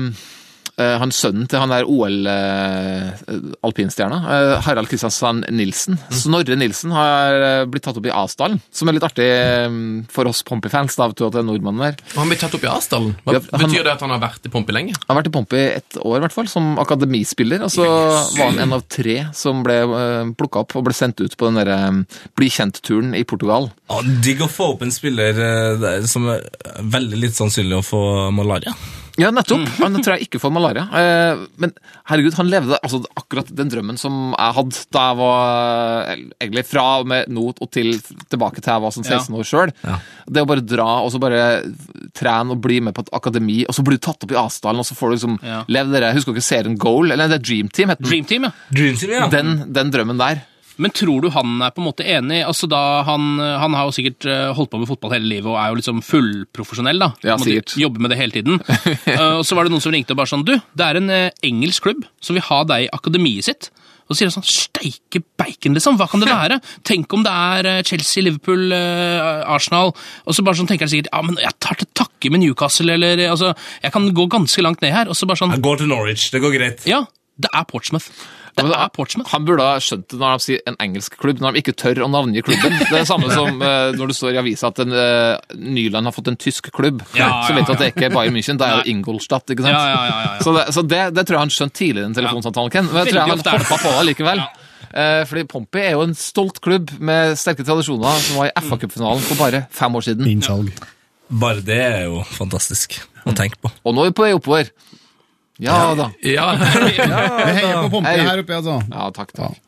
Speaker 6: eh, han sønnen til han der OL-alpinstjerna, eh, Harald Kristiansen Nilsen. Snorre Nilsen har eh, blitt tatt opp i Asdalen, som er litt artig eh, for oss Pompey-fans. da, vet du, at det er nordmannen der.
Speaker 3: Og Han blir tatt opp i Asdalen. Hva
Speaker 6: Ja, han-
Speaker 3: Betyr det at han har vært i Pompi lenge?
Speaker 6: Han har vært i Pompey ett år, i hvert fall, som akademispiller. Og så var han en av tre som ble uh, plukka opp og ble sendt ut på den derre eh, Bli kjent-turen i Portugal.
Speaker 4: Ja, digg å få opp en spiller eh, der som er veldig litt sannsynlig å få malaria.
Speaker 6: Ja, nettopp.
Speaker 5: Mm.
Speaker 6: Han tror jeg ikke får malaria. Eh, Men herregud, han levde altså, akkurat den drømmen som jeg hadde da jeg var eller, Egentlig fra og med nå og til tilbake til jeg var sånn 16 år sjøl. Det å bare dra og så bare trene og bli med på et akademi, og så blir du tatt opp i Asdalen, og så får du liksom
Speaker 5: Ja.
Speaker 6: leve dere Husker dere serien Goal? Eller det er Dream Team, het den.
Speaker 5: Dream Team, ja.
Speaker 4: Dream Team, ja.
Speaker 6: Den, den drømmen der.
Speaker 5: Men tror du han er på en måte enig? Altså da han, han har jo sikkert eh, holdt på med fotball hele livet og er jo liksom fullprofesjonell. da.
Speaker 6: Ja,
Speaker 5: Må
Speaker 6: sikkert.
Speaker 5: jo Jobbe med det hele tiden. Eh, Og så var det noen som ringte og bare sånn Du, det er en eh, engelsk klubb som vil ha deg i akademiet sitt. Og så sier jeg sånn Steike bacon, liksom! Hva kan det være? Tenk om det er eh, Chelsea, Liverpool, eh, Arsenal Og så bare sånn tenker jeg sikkert Ja, men jeg tar til takke med Newcastle, eller eh, altså, Jeg kan gå ganske langt ned her. Og så bare sånn
Speaker 4: Jeg går til Norwich, det går greit.
Speaker 5: Ja, det er Portsmouth. Det
Speaker 6: men da-
Speaker 5: er Portsmouth.
Speaker 6: Han burde ha skjønt det når de sier en engelsk klubb, når de ikke tør å navngi klubben. Det er det samme som eh, når du står i avisa at en, eh, Nyland har fått en tysk klubb.
Speaker 5: Ja,
Speaker 6: så
Speaker 5: ja,
Speaker 6: vet du at det er ikke er Bayern München, det er jo Ingolstadt, ikke sant?
Speaker 5: Ja, ja, ja, ja, ja.
Speaker 6: Så, det, så det, det tror jeg han skjønte tidligere i den telefonsamtalen, Ken. Men jeg tror
Speaker 5: Veldig
Speaker 6: jeg han
Speaker 5: ofte er det.
Speaker 6: hoppa på det likevel.
Speaker 5: Ja.
Speaker 6: Eh, Fordi Pompey er jo en stolt klubb med sterke tradisjoner, som var i FA-cupfinalen for bare fem år siden.
Speaker 7: Innsalg.
Speaker 4: Bare det er jo fantastisk å tenke på.
Speaker 6: Og nå er vi på vei oppover. Ja da.
Speaker 3: Ja,
Speaker 7: Jeg heier på Pompei
Speaker 6: Hei.
Speaker 7: her oppe, altså.
Speaker 6: Ja, takk, takk.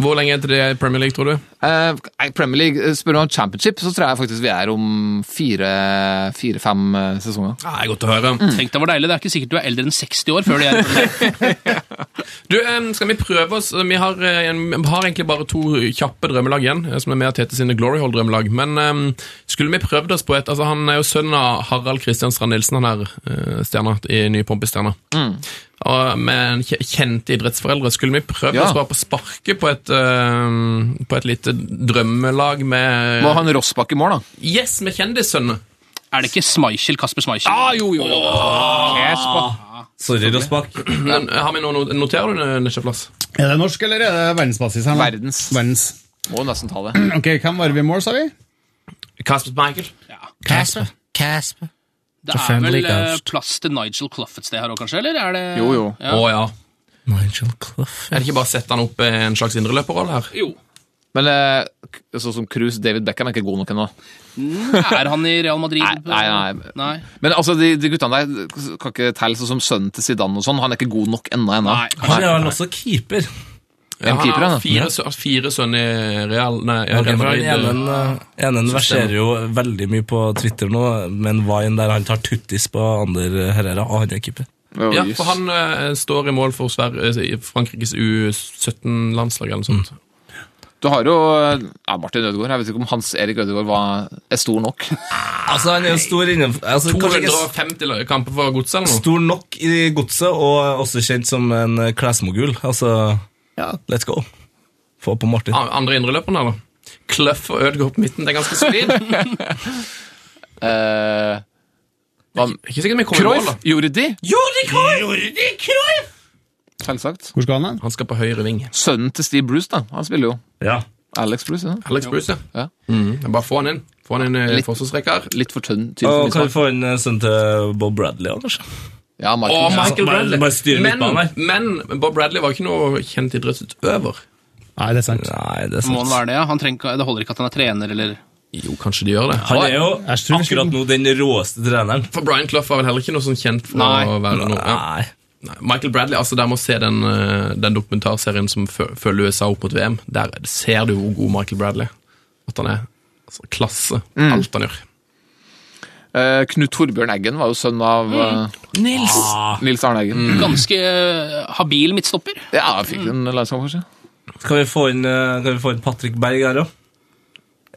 Speaker 3: Hvor lenge er til det er i Premier League, tror du?
Speaker 6: Eh, nei, Premier League, eh, spør du om championship, så tror jeg faktisk vi er om fire- fire-fem eh, sesonger.
Speaker 3: Ja, det er godt å høre.
Speaker 5: Tenk deg hvor deilig. Det er ikke sikkert du er eldre enn 60 år før de er
Speaker 3: Du, em, skal vi prøve oss? Vi har, eh, en- vi har egentlig bare to kjappe drømmelag igjen, eh, som er med og Tete sine Glory Hall-drømmelag. Men em, skulle vi prøvd oss på et Altså, han er jo sønn av Harald Kristian Strand Nilsen, han her, eh, stjerna i Nye Pompestjerna. Og med en kje- kjente idrettsforeldre. Skulle vi prøvd
Speaker 6: Ja.
Speaker 3: oss bare på sparket på et, em, på et lite drømmelag med
Speaker 6: Må ha en Rossbakk i mål, da.
Speaker 3: Yes, med kjendissønner!
Speaker 5: Er det ikke Schmeichel, Kasper Schmeichel?
Speaker 3: Ah, jo, jo, jo.
Speaker 4: Sorry, Rossbakk.
Speaker 3: Men, eh, har vi noe, no- noterer du det, Nisjeplass?
Speaker 7: Er det norsk, eller er det verdensbasis her nå?
Speaker 6: Verdens.
Speaker 7: Verdens.
Speaker 6: Må jo nesten ta det.
Speaker 7: Ok, hvem var vi i mål, sa vi?
Speaker 3: Kasper Michael.
Speaker 4: Casper. Casper.
Speaker 5: Det er
Speaker 4: Friendly
Speaker 5: vel eh,
Speaker 4: Ghost.
Speaker 5: plass til Nigel Clough et sted her òg, kanskje? Eller er det
Speaker 6: Jo, jo.
Speaker 3: Å ja.
Speaker 4: Nigel Clough.
Speaker 3: Er det ikke bare å sette han opp i en slags indreløperrolle her?
Speaker 5: Jo.
Speaker 6: Men eh, k- sånn som Cruz, David Beckham er ikke god nok ennå.
Speaker 5: Er han i Real Madrid?
Speaker 6: Nei, nei, nei.
Speaker 5: Nei.
Speaker 6: Men altså, de, de guttene der kan ikke telle sånn som sønnen til Zidane og sånn. Han er ikke god nok ennå. ennå.
Speaker 5: Nei.
Speaker 4: Han er vel også keeper.
Speaker 3: Ja, han
Speaker 6: keeper,
Speaker 3: har
Speaker 6: han, da.
Speaker 3: fire, sø- fire sønner i Real Nei, ja, Real
Speaker 4: Den
Speaker 3: Madrid.
Speaker 4: enen, eh, enen verserer jo veldig mye på Twitter nå, men Vine der han tar tuttis på Ander Herrera, og han er keeper.
Speaker 6: Å,
Speaker 3: Ja,
Speaker 6: jøss.
Speaker 3: for han eh, står i mål for Sver eh, Frankrikes U17-landslag eller noe sånt.
Speaker 6: Du har jo eh, ja, Martin Ødegaard. Jeg vet ikke om Hans Erik Ødegaard var, er stor nok.
Speaker 4: Altså, han er jo stor innenfor altså, kanskje ikke
Speaker 3: 250 la- kamper for godset eller noe?
Speaker 4: Stor nok i godset, og også kjent som en eh, klesmogul. Altså,
Speaker 7: Ja.
Speaker 4: let's go. Få på Martin.
Speaker 3: A- Andre indreløperen, eller? Kløff og Ødegaard på midten, det er ganske solid. Det
Speaker 6: Eh,
Speaker 3: er ikke sikkert vi kommer i mål,
Speaker 6: Cruyff,
Speaker 3: da.
Speaker 6: Jordi,
Speaker 3: Jordi Cruyff!
Speaker 6: selvsagt.
Speaker 7: Hvor skal han hen?
Speaker 3: Han skal på høyre ving.
Speaker 6: Sønnen til Steve Bruce, da. Han spiller jo
Speaker 4: Ja.
Speaker 6: Alex Bruce. Ja.
Speaker 3: Alex Bruce,
Speaker 6: Ja.
Speaker 3: Mm. Bare få han inn. Få han inn eh, i
Speaker 6: Litt-
Speaker 3: forsvarsrekka her.
Speaker 6: Litt for tynn. tynn for
Speaker 4: Og
Speaker 6: min
Speaker 4: kan
Speaker 6: smak.
Speaker 4: vi få inn eh, sønnen til Bob Bradley òg, kanskje?
Speaker 6: Ja, Michael.
Speaker 3: Og
Speaker 4: altså,
Speaker 3: Michael
Speaker 4: bare-
Speaker 3: Bradley.
Speaker 4: bare styre midtbanen her.
Speaker 3: men, men Bob Bradley var ikke noe kjent idrettsutøver.
Speaker 7: Nei, det er sant.
Speaker 4: Nei, det er
Speaker 5: Må han
Speaker 4: sant.
Speaker 5: være det, ja? Han trenger, ikke- det holder ikke at han er trener, eller
Speaker 3: Jo, kanskje de gjør det.
Speaker 4: Han er jo
Speaker 7: Jeg tror vi skulle-
Speaker 4: akkurat nå den råeste treneren.
Speaker 3: For Brian Clough var vel heller ikke noe sånn kjent for
Speaker 5: Nei.
Speaker 3: å være noe ja.
Speaker 4: Nei.
Speaker 3: Nei, Michael Bradley, altså der må se den, eh, den dokumentarserien som fø- følger USA opp mot VM. Der ser du hvor god Michael Bradley er. At han er altså, klasse. Alt han gjør.
Speaker 6: Eh, Knut Torbjørn Eggen var jo sønn av eh,
Speaker 5: Nils!
Speaker 6: Nils Arne Eggen.
Speaker 5: Ganske eh, habil midtstopper.
Speaker 6: Ja, jeg fikk en landskamp, kanskje.
Speaker 4: Kan vi få inn, eh, kan vi få inn Patrick Berg her òg?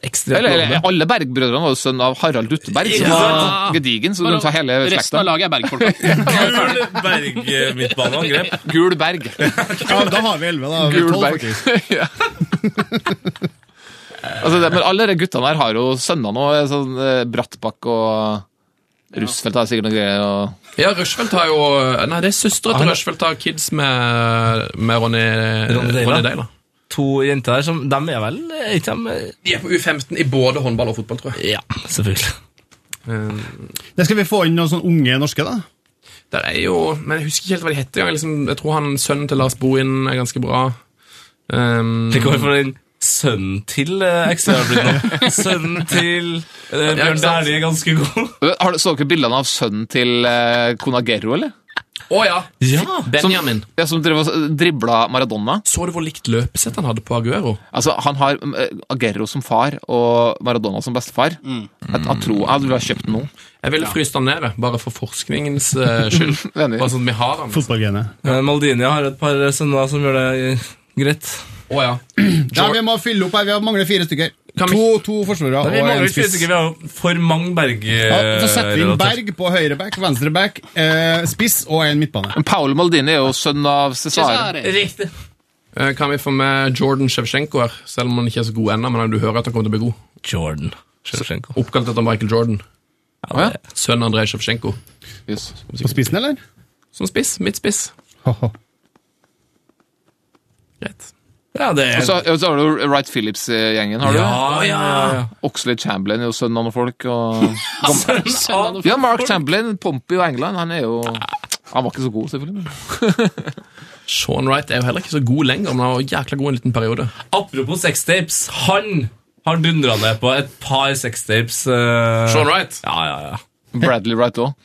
Speaker 4: Ekstremt
Speaker 6: Eller, eller
Speaker 4: lovende.
Speaker 6: alle Berg-brødrene var jo sønn av Harald Utteberg, som
Speaker 3: Ja.
Speaker 6: var gedigen, så du kan ta hele
Speaker 5: Resten av
Speaker 6: slekta.
Speaker 5: laget er bergfolk.
Speaker 4: Gul Berg eh, midtbaneangrep.
Speaker 6: Gul Berg.
Speaker 7: Ja, da har vi elleve, da. Vi har
Speaker 6: Gul
Speaker 7: 12,
Speaker 6: Berg.
Speaker 7: faktisk.
Speaker 6: Ja. altså, det, men alle de guttene her har jo sønner nå. eh, Sånn, eh, Brattbakk og Russfeldt har sikkert noen greier. Og...
Speaker 3: Ja, Rushfeldt har jo eh, Nei, det er søstera til Rushfeldt har kids med, med Ronny,
Speaker 4: Ronny Deila.
Speaker 3: Ronny Deila.
Speaker 4: To jenter her som De er vel eh, ikke de eh,
Speaker 3: De er på U15 i både håndball og fotball, tror jeg.
Speaker 4: Ja, selvfølgelig.
Speaker 7: Det skal vi få inn noen sånne unge norske, da.
Speaker 3: Der er jo, men Jeg husker ikke helt hva de heter. Jeg, liksom, jeg tror han sønnen til Lars Bohin er ganske bra. Um,
Speaker 4: Tenk over for den sønnen til eh, ekstra har blitt nå. Sønnen til eh,
Speaker 3: Ja, ikke
Speaker 4: Bjørn
Speaker 3: sant?
Speaker 4: Dæhlie er ganske god.
Speaker 6: Har du Så dere bildene av sønnen til eh, Kona Gerro, eller?
Speaker 3: Å ja!
Speaker 4: Ja.
Speaker 3: Benjamin.
Speaker 6: Ja, som drev og s- dribla Maradona.
Speaker 3: Så du hvor likt løpesett han hadde på Aguero?
Speaker 6: Altså, Han har eh, Aguero som far og Maradona som bestefar. Jeg, jeg tror jeg ville ha kjøpt den nå.
Speaker 3: Jeg ville fryst han ned, bare for forskningens eh, skyld.
Speaker 6: Enig.
Speaker 3: bare sånn at vi har han.
Speaker 7: Fotballgenet.
Speaker 4: Eh, Maldini har et par sønner som gjør det eh, greit.
Speaker 3: Å ja.
Speaker 7: Ja, vi må fylle opp her. Vi mangler fire stykker.
Speaker 3: Kan vi-
Speaker 7: To, to forsvarere
Speaker 4: Vi
Speaker 7: og
Speaker 4: mangler
Speaker 7: en
Speaker 4: ikke
Speaker 7: spiss.
Speaker 4: vi har jo for mange Berg... eh,
Speaker 7: Ja, så setter vi inn
Speaker 4: relatert.
Speaker 7: Berg på høyre back, venstre back, eh, spiss og en midtbane.
Speaker 6: Men Paolo Maldini er jo sønn av Cesare.
Speaker 5: Cesare.
Speaker 3: Eh, Kan vi få med Jordan Shevchenko her, selv om han ikke er så god ennå, men du hører at han kommer til å bli god.
Speaker 4: Jordan Sjevtsjenko.
Speaker 3: Oppkalt etter Michael Jordan.
Speaker 4: Ja, det-
Speaker 3: Sønnen Andrej Shevchenko.
Speaker 6: Yes.
Speaker 7: På spissen, eller?
Speaker 3: Som spiss. Midtspiss.
Speaker 7: Haha.
Speaker 3: Greit.
Speaker 4: ja, det er
Speaker 6: Og så, og så har du Wright Phillips-gjengen. har du?
Speaker 4: Ja, ja.
Speaker 6: Oxley Chamberlain er jo sønn av noen folk. Og...
Speaker 5: Sønnen av-
Speaker 6: Ja, Mark Chamberlain, Pompey og England, han er jo Han var ikke så god, selvfølgelig. men-
Speaker 3: Sean Wright er jo heller ikke så god lenger, men han var jækla god en liten periode.
Speaker 4: Apropos sextapes, han har dundra ned på et par sextapes. eh,
Speaker 3: Sean Wright?
Speaker 4: Ja, ja, ja.
Speaker 6: Bradley Wright òg.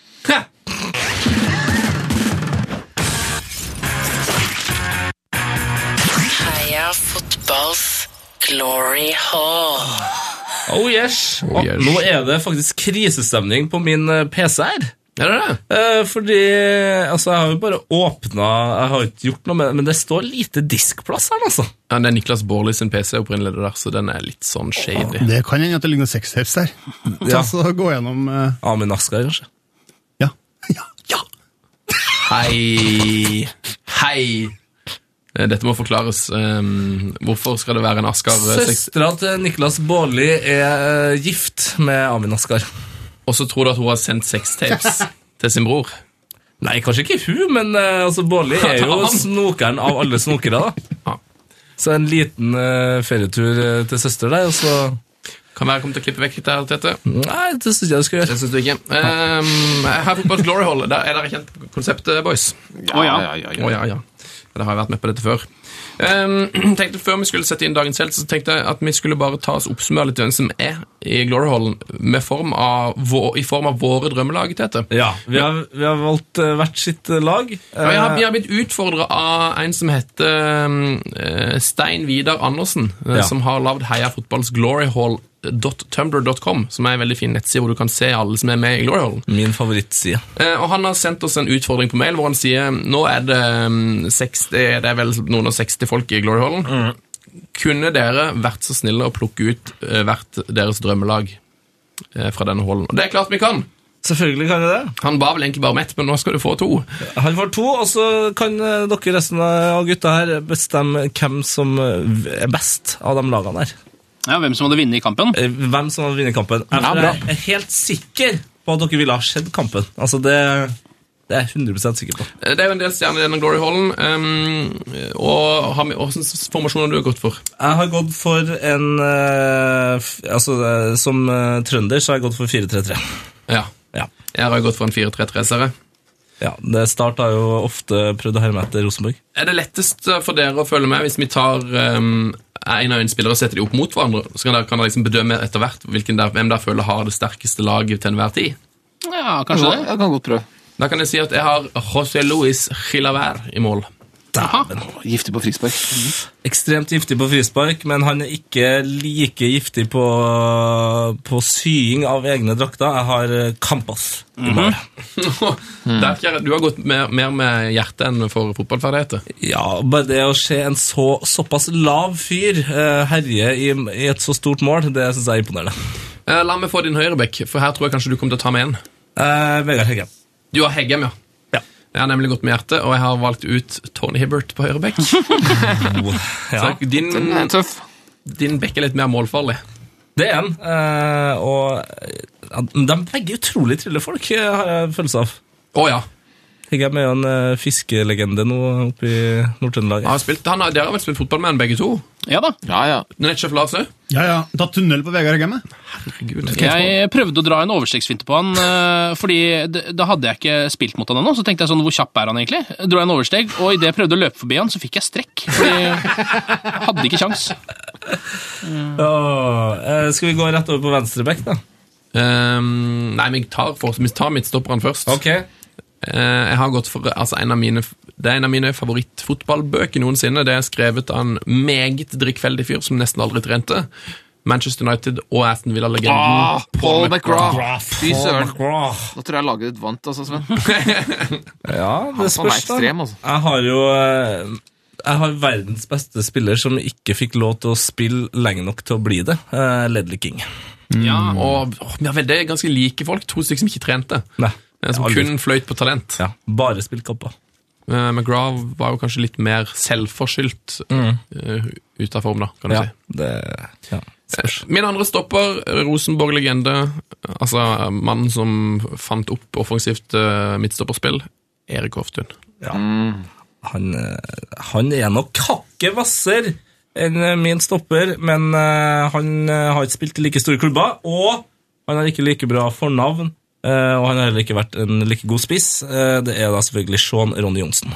Speaker 9: Heia fotballs glory hall.
Speaker 4: Oh yes. Og
Speaker 3: yes.
Speaker 4: Nå er det faktisk krisestemning på min eh, PC her.
Speaker 3: Er det det?
Speaker 4: Eh, fordi altså, jeg har jo bare åpna Jeg har ikke gjort noe med det, men det står lite diskplass her, altså.
Speaker 3: Ja, det er Niklas Baarli sin PC opprinnelig det der, så den er litt sånn shady.
Speaker 7: Det kan hende at det ligger noen sextapes der.
Speaker 4: Ja.
Speaker 7: Ta Så gå gjennom eh,
Speaker 4: Amin Askar, kanskje.
Speaker 7: Ja. ja. ja.
Speaker 3: Hei! Hei! Eh, Dette må forklares. Um, hvorfor skal det være en Askar eh, seks-
Speaker 4: Søstera til Niklas Baarli er eh, gift med Amin Askar.
Speaker 3: Og så tror du at hun har sendt sextapes til sin bror?
Speaker 4: Nei, kanskje ikke hun, men eh, altså, Baarli er jo snokeren av alle snokere, da.
Speaker 3: Ja.
Speaker 4: Så en liten eh, ferietur eh, til søster der, og så
Speaker 3: Kan være jeg kommer til å klippe vekk litt her, Tete.
Speaker 4: Nei, det syns jeg du skal gjøre.
Speaker 3: Det syns du ikke. Um, her på Glory Hall, der er dere kjent konseptet, boys?
Speaker 5: Å ja.
Speaker 3: Å ja, ja. Dere har jo vært med på dette før. Um, tenkte Før vi skulle sette inn dagens helt, så tenkte jeg at vi skulle bare ta oss oppsummere litt hvem som er i Glory Hallen med form av vår, i form av våre drømmelag, Tete.
Speaker 4: Ja, vi har, vi har valgt eh, hvert sitt eh, lag.
Speaker 3: Ja, jeg har, jeg har blitt utfordra av en som heter um, eh, Stein Vidar Andersen, eh,
Speaker 4: Ja.
Speaker 3: som har lagd Heia fotballs gloryhall.tumblr.com, som er en veldig fin nettside hvor du kan se alle som er med i Gloryhallen.
Speaker 4: Min favorittside.
Speaker 3: Eh, og han har sendt oss en utfordring på mail hvor han sier nå er det, um, 60, det er vel noen og 60 folk i Gloryhallen.
Speaker 4: Mm.
Speaker 3: Kunne dere vært så snille å plukke ut eh, hvert deres drømmelag eh, fra denne hallen? Og det er klart vi kan!
Speaker 4: Selvfølgelig kan vi det.
Speaker 3: Han ba vel egentlig bare om ett, men nå skal du få to.
Speaker 4: Han får to, og så kan eh, dere resten av gutta her bestemme hvem som eh, er best av de lagene her.
Speaker 5: ja, hvem som hadde vunnet i kampen?
Speaker 4: Eh, Hvem som har vunnet kampen. Jeg,
Speaker 6: Ja,
Speaker 4: for
Speaker 6: bra.
Speaker 4: jeg er helt sikker på at dere ville ha sett kampen. Altså, det, det er jeg 100 sikker på.
Speaker 3: Eh, Det er jo en del stjerner i denne Glory Hallen. Um, og har vi, hvordan formasjon har du gått for?
Speaker 4: Jeg har gått for en eh, f- Altså, eh, som eh, trønder så har jeg gått for 4-3-3.
Speaker 3: Ja.
Speaker 4: Ja.
Speaker 3: Jeg har jo gått for en 4-3-3-serie.
Speaker 4: ja. Det Start har jo ofte prøvd å herme etter Rosenborg.
Speaker 3: Er det lettest eh, for dere å følge med hvis vi tar um, en av en spiller og setter de opp mot hverandre? Så kan dere, kan dere liksom bedømme etter hvert hvilken der, hvem dere føler har det sterkeste laget til enhver tid.
Speaker 5: Ja, kanskje det.
Speaker 6: Jeg kan godt prøve.
Speaker 3: Da kan jeg si at jeg har José Luis Gilaver i mål.
Speaker 4: Dæven!
Speaker 6: Giftig på frispark.
Speaker 4: Ekstremt giftig på frispark, men han er ikke like giftig på, på sying av egne drakter. Jeg har eh, Campas. i mål.
Speaker 3: Der, Kjære, du har gått mer, mer med hjertet enn for fotballferdigheter.
Speaker 4: Ja, bare det å se en så, såpass lav fyr eh, herje i, i et så stort mål, det syns jeg er imponerende.
Speaker 3: Eh, la meg få din høyrebekk, for her tror jeg kanskje du kommer til å ta med en.
Speaker 4: Eh, Vegard Heggen.
Speaker 3: Du har Heggem, ja.
Speaker 4: Ja.
Speaker 3: Jeg har nemlig gått med hjertet, og jeg har valgt ut Tony Hibbert på høyre bekk.
Speaker 4: Ja,
Speaker 3: Så din,
Speaker 6: Den er Mm, tøff.
Speaker 3: din bekk er litt mer målfarlig.
Speaker 4: det er han. Eh, og ja, de er begge utrolig trille folk, eh, har jeg følelse av.
Speaker 3: Å ja.
Speaker 4: Heggen er jo en eh, fiskelegende nå oppe i Nord-Trøndelag.
Speaker 3: Han har spilt, han har, dere har vel spilt fotball med han begge to?
Speaker 5: Ja da.
Speaker 6: Ja, ja.
Speaker 3: Netchef Lars òg?
Speaker 7: Ja, ja. Ta tunnel på Vegard Hegemme.
Speaker 5: Jeg prøvde å dra en oversiktsfinte på han, eh, fordi d- da hadde jeg ikke spilt mot han ennå. Så tenkte jeg sånn, hvor kjapp er han egentlig? Dro jeg en oversteg, og idet jeg prøvde å løpe forbi han, så fikk jeg strekk. Fordi jeg hadde ikke kjangs.
Speaker 4: Åh, Altså, eh, skal vi gå rett over på venstreback, da?
Speaker 3: Um, nei, men jeg tar, for, vi tar midtstopperen først. Eh, jeg har gått for altså, en av mine, Det er en av mine favorittfotballbøker noensinne. Det er skrevet av en meget drikkfeldig fyr som nesten aldri trente. Manchester United og Aston Villa-legenden.
Speaker 6: Ah, Paul McGrath. Fy søren.
Speaker 4: McGraw.
Speaker 6: Da tror jeg laget ditt vant, altså, Sven.
Speaker 4: Ja, det
Speaker 6: Han som er
Speaker 4: spørs, da.
Speaker 6: ekstrem, altså.
Speaker 4: Jeg har jo eh, jeg har verdens beste spiller som ikke fikk lov til å spille lenge nok til å bli det. Eh, Ledley King.
Speaker 3: Ja,
Speaker 4: Mm.
Speaker 3: og åh, ja, vel, Det er ganske like folk. To stykker som ikke trente.
Speaker 4: Nei.
Speaker 3: Eh, Som
Speaker 4: aldri-
Speaker 3: kun fløyt på talent.
Speaker 4: ja, bare spilt kamper.
Speaker 3: Eh, McGraw var jo kanskje litt mer selvforskyldt eh, ut av form, da, kan du
Speaker 4: Mm. Ja,
Speaker 3: si.
Speaker 4: det, ja.
Speaker 3: Eh, Min andre stopper, Rosenborg-legende, altså eh, mannen som fant opp offensivt eh, midtstopperspill, Erik Hoftun.
Speaker 4: Han, eh, han er nok hakket hvasser enn eh, min stopper, men eh, han eh, har ikke spilt i like store klubber, og han er ikke like bra fornavn, eh, og han har heller ikke vært en like god spiss. Eh, Det er da selvfølgelig Sean Ronny Johnsen.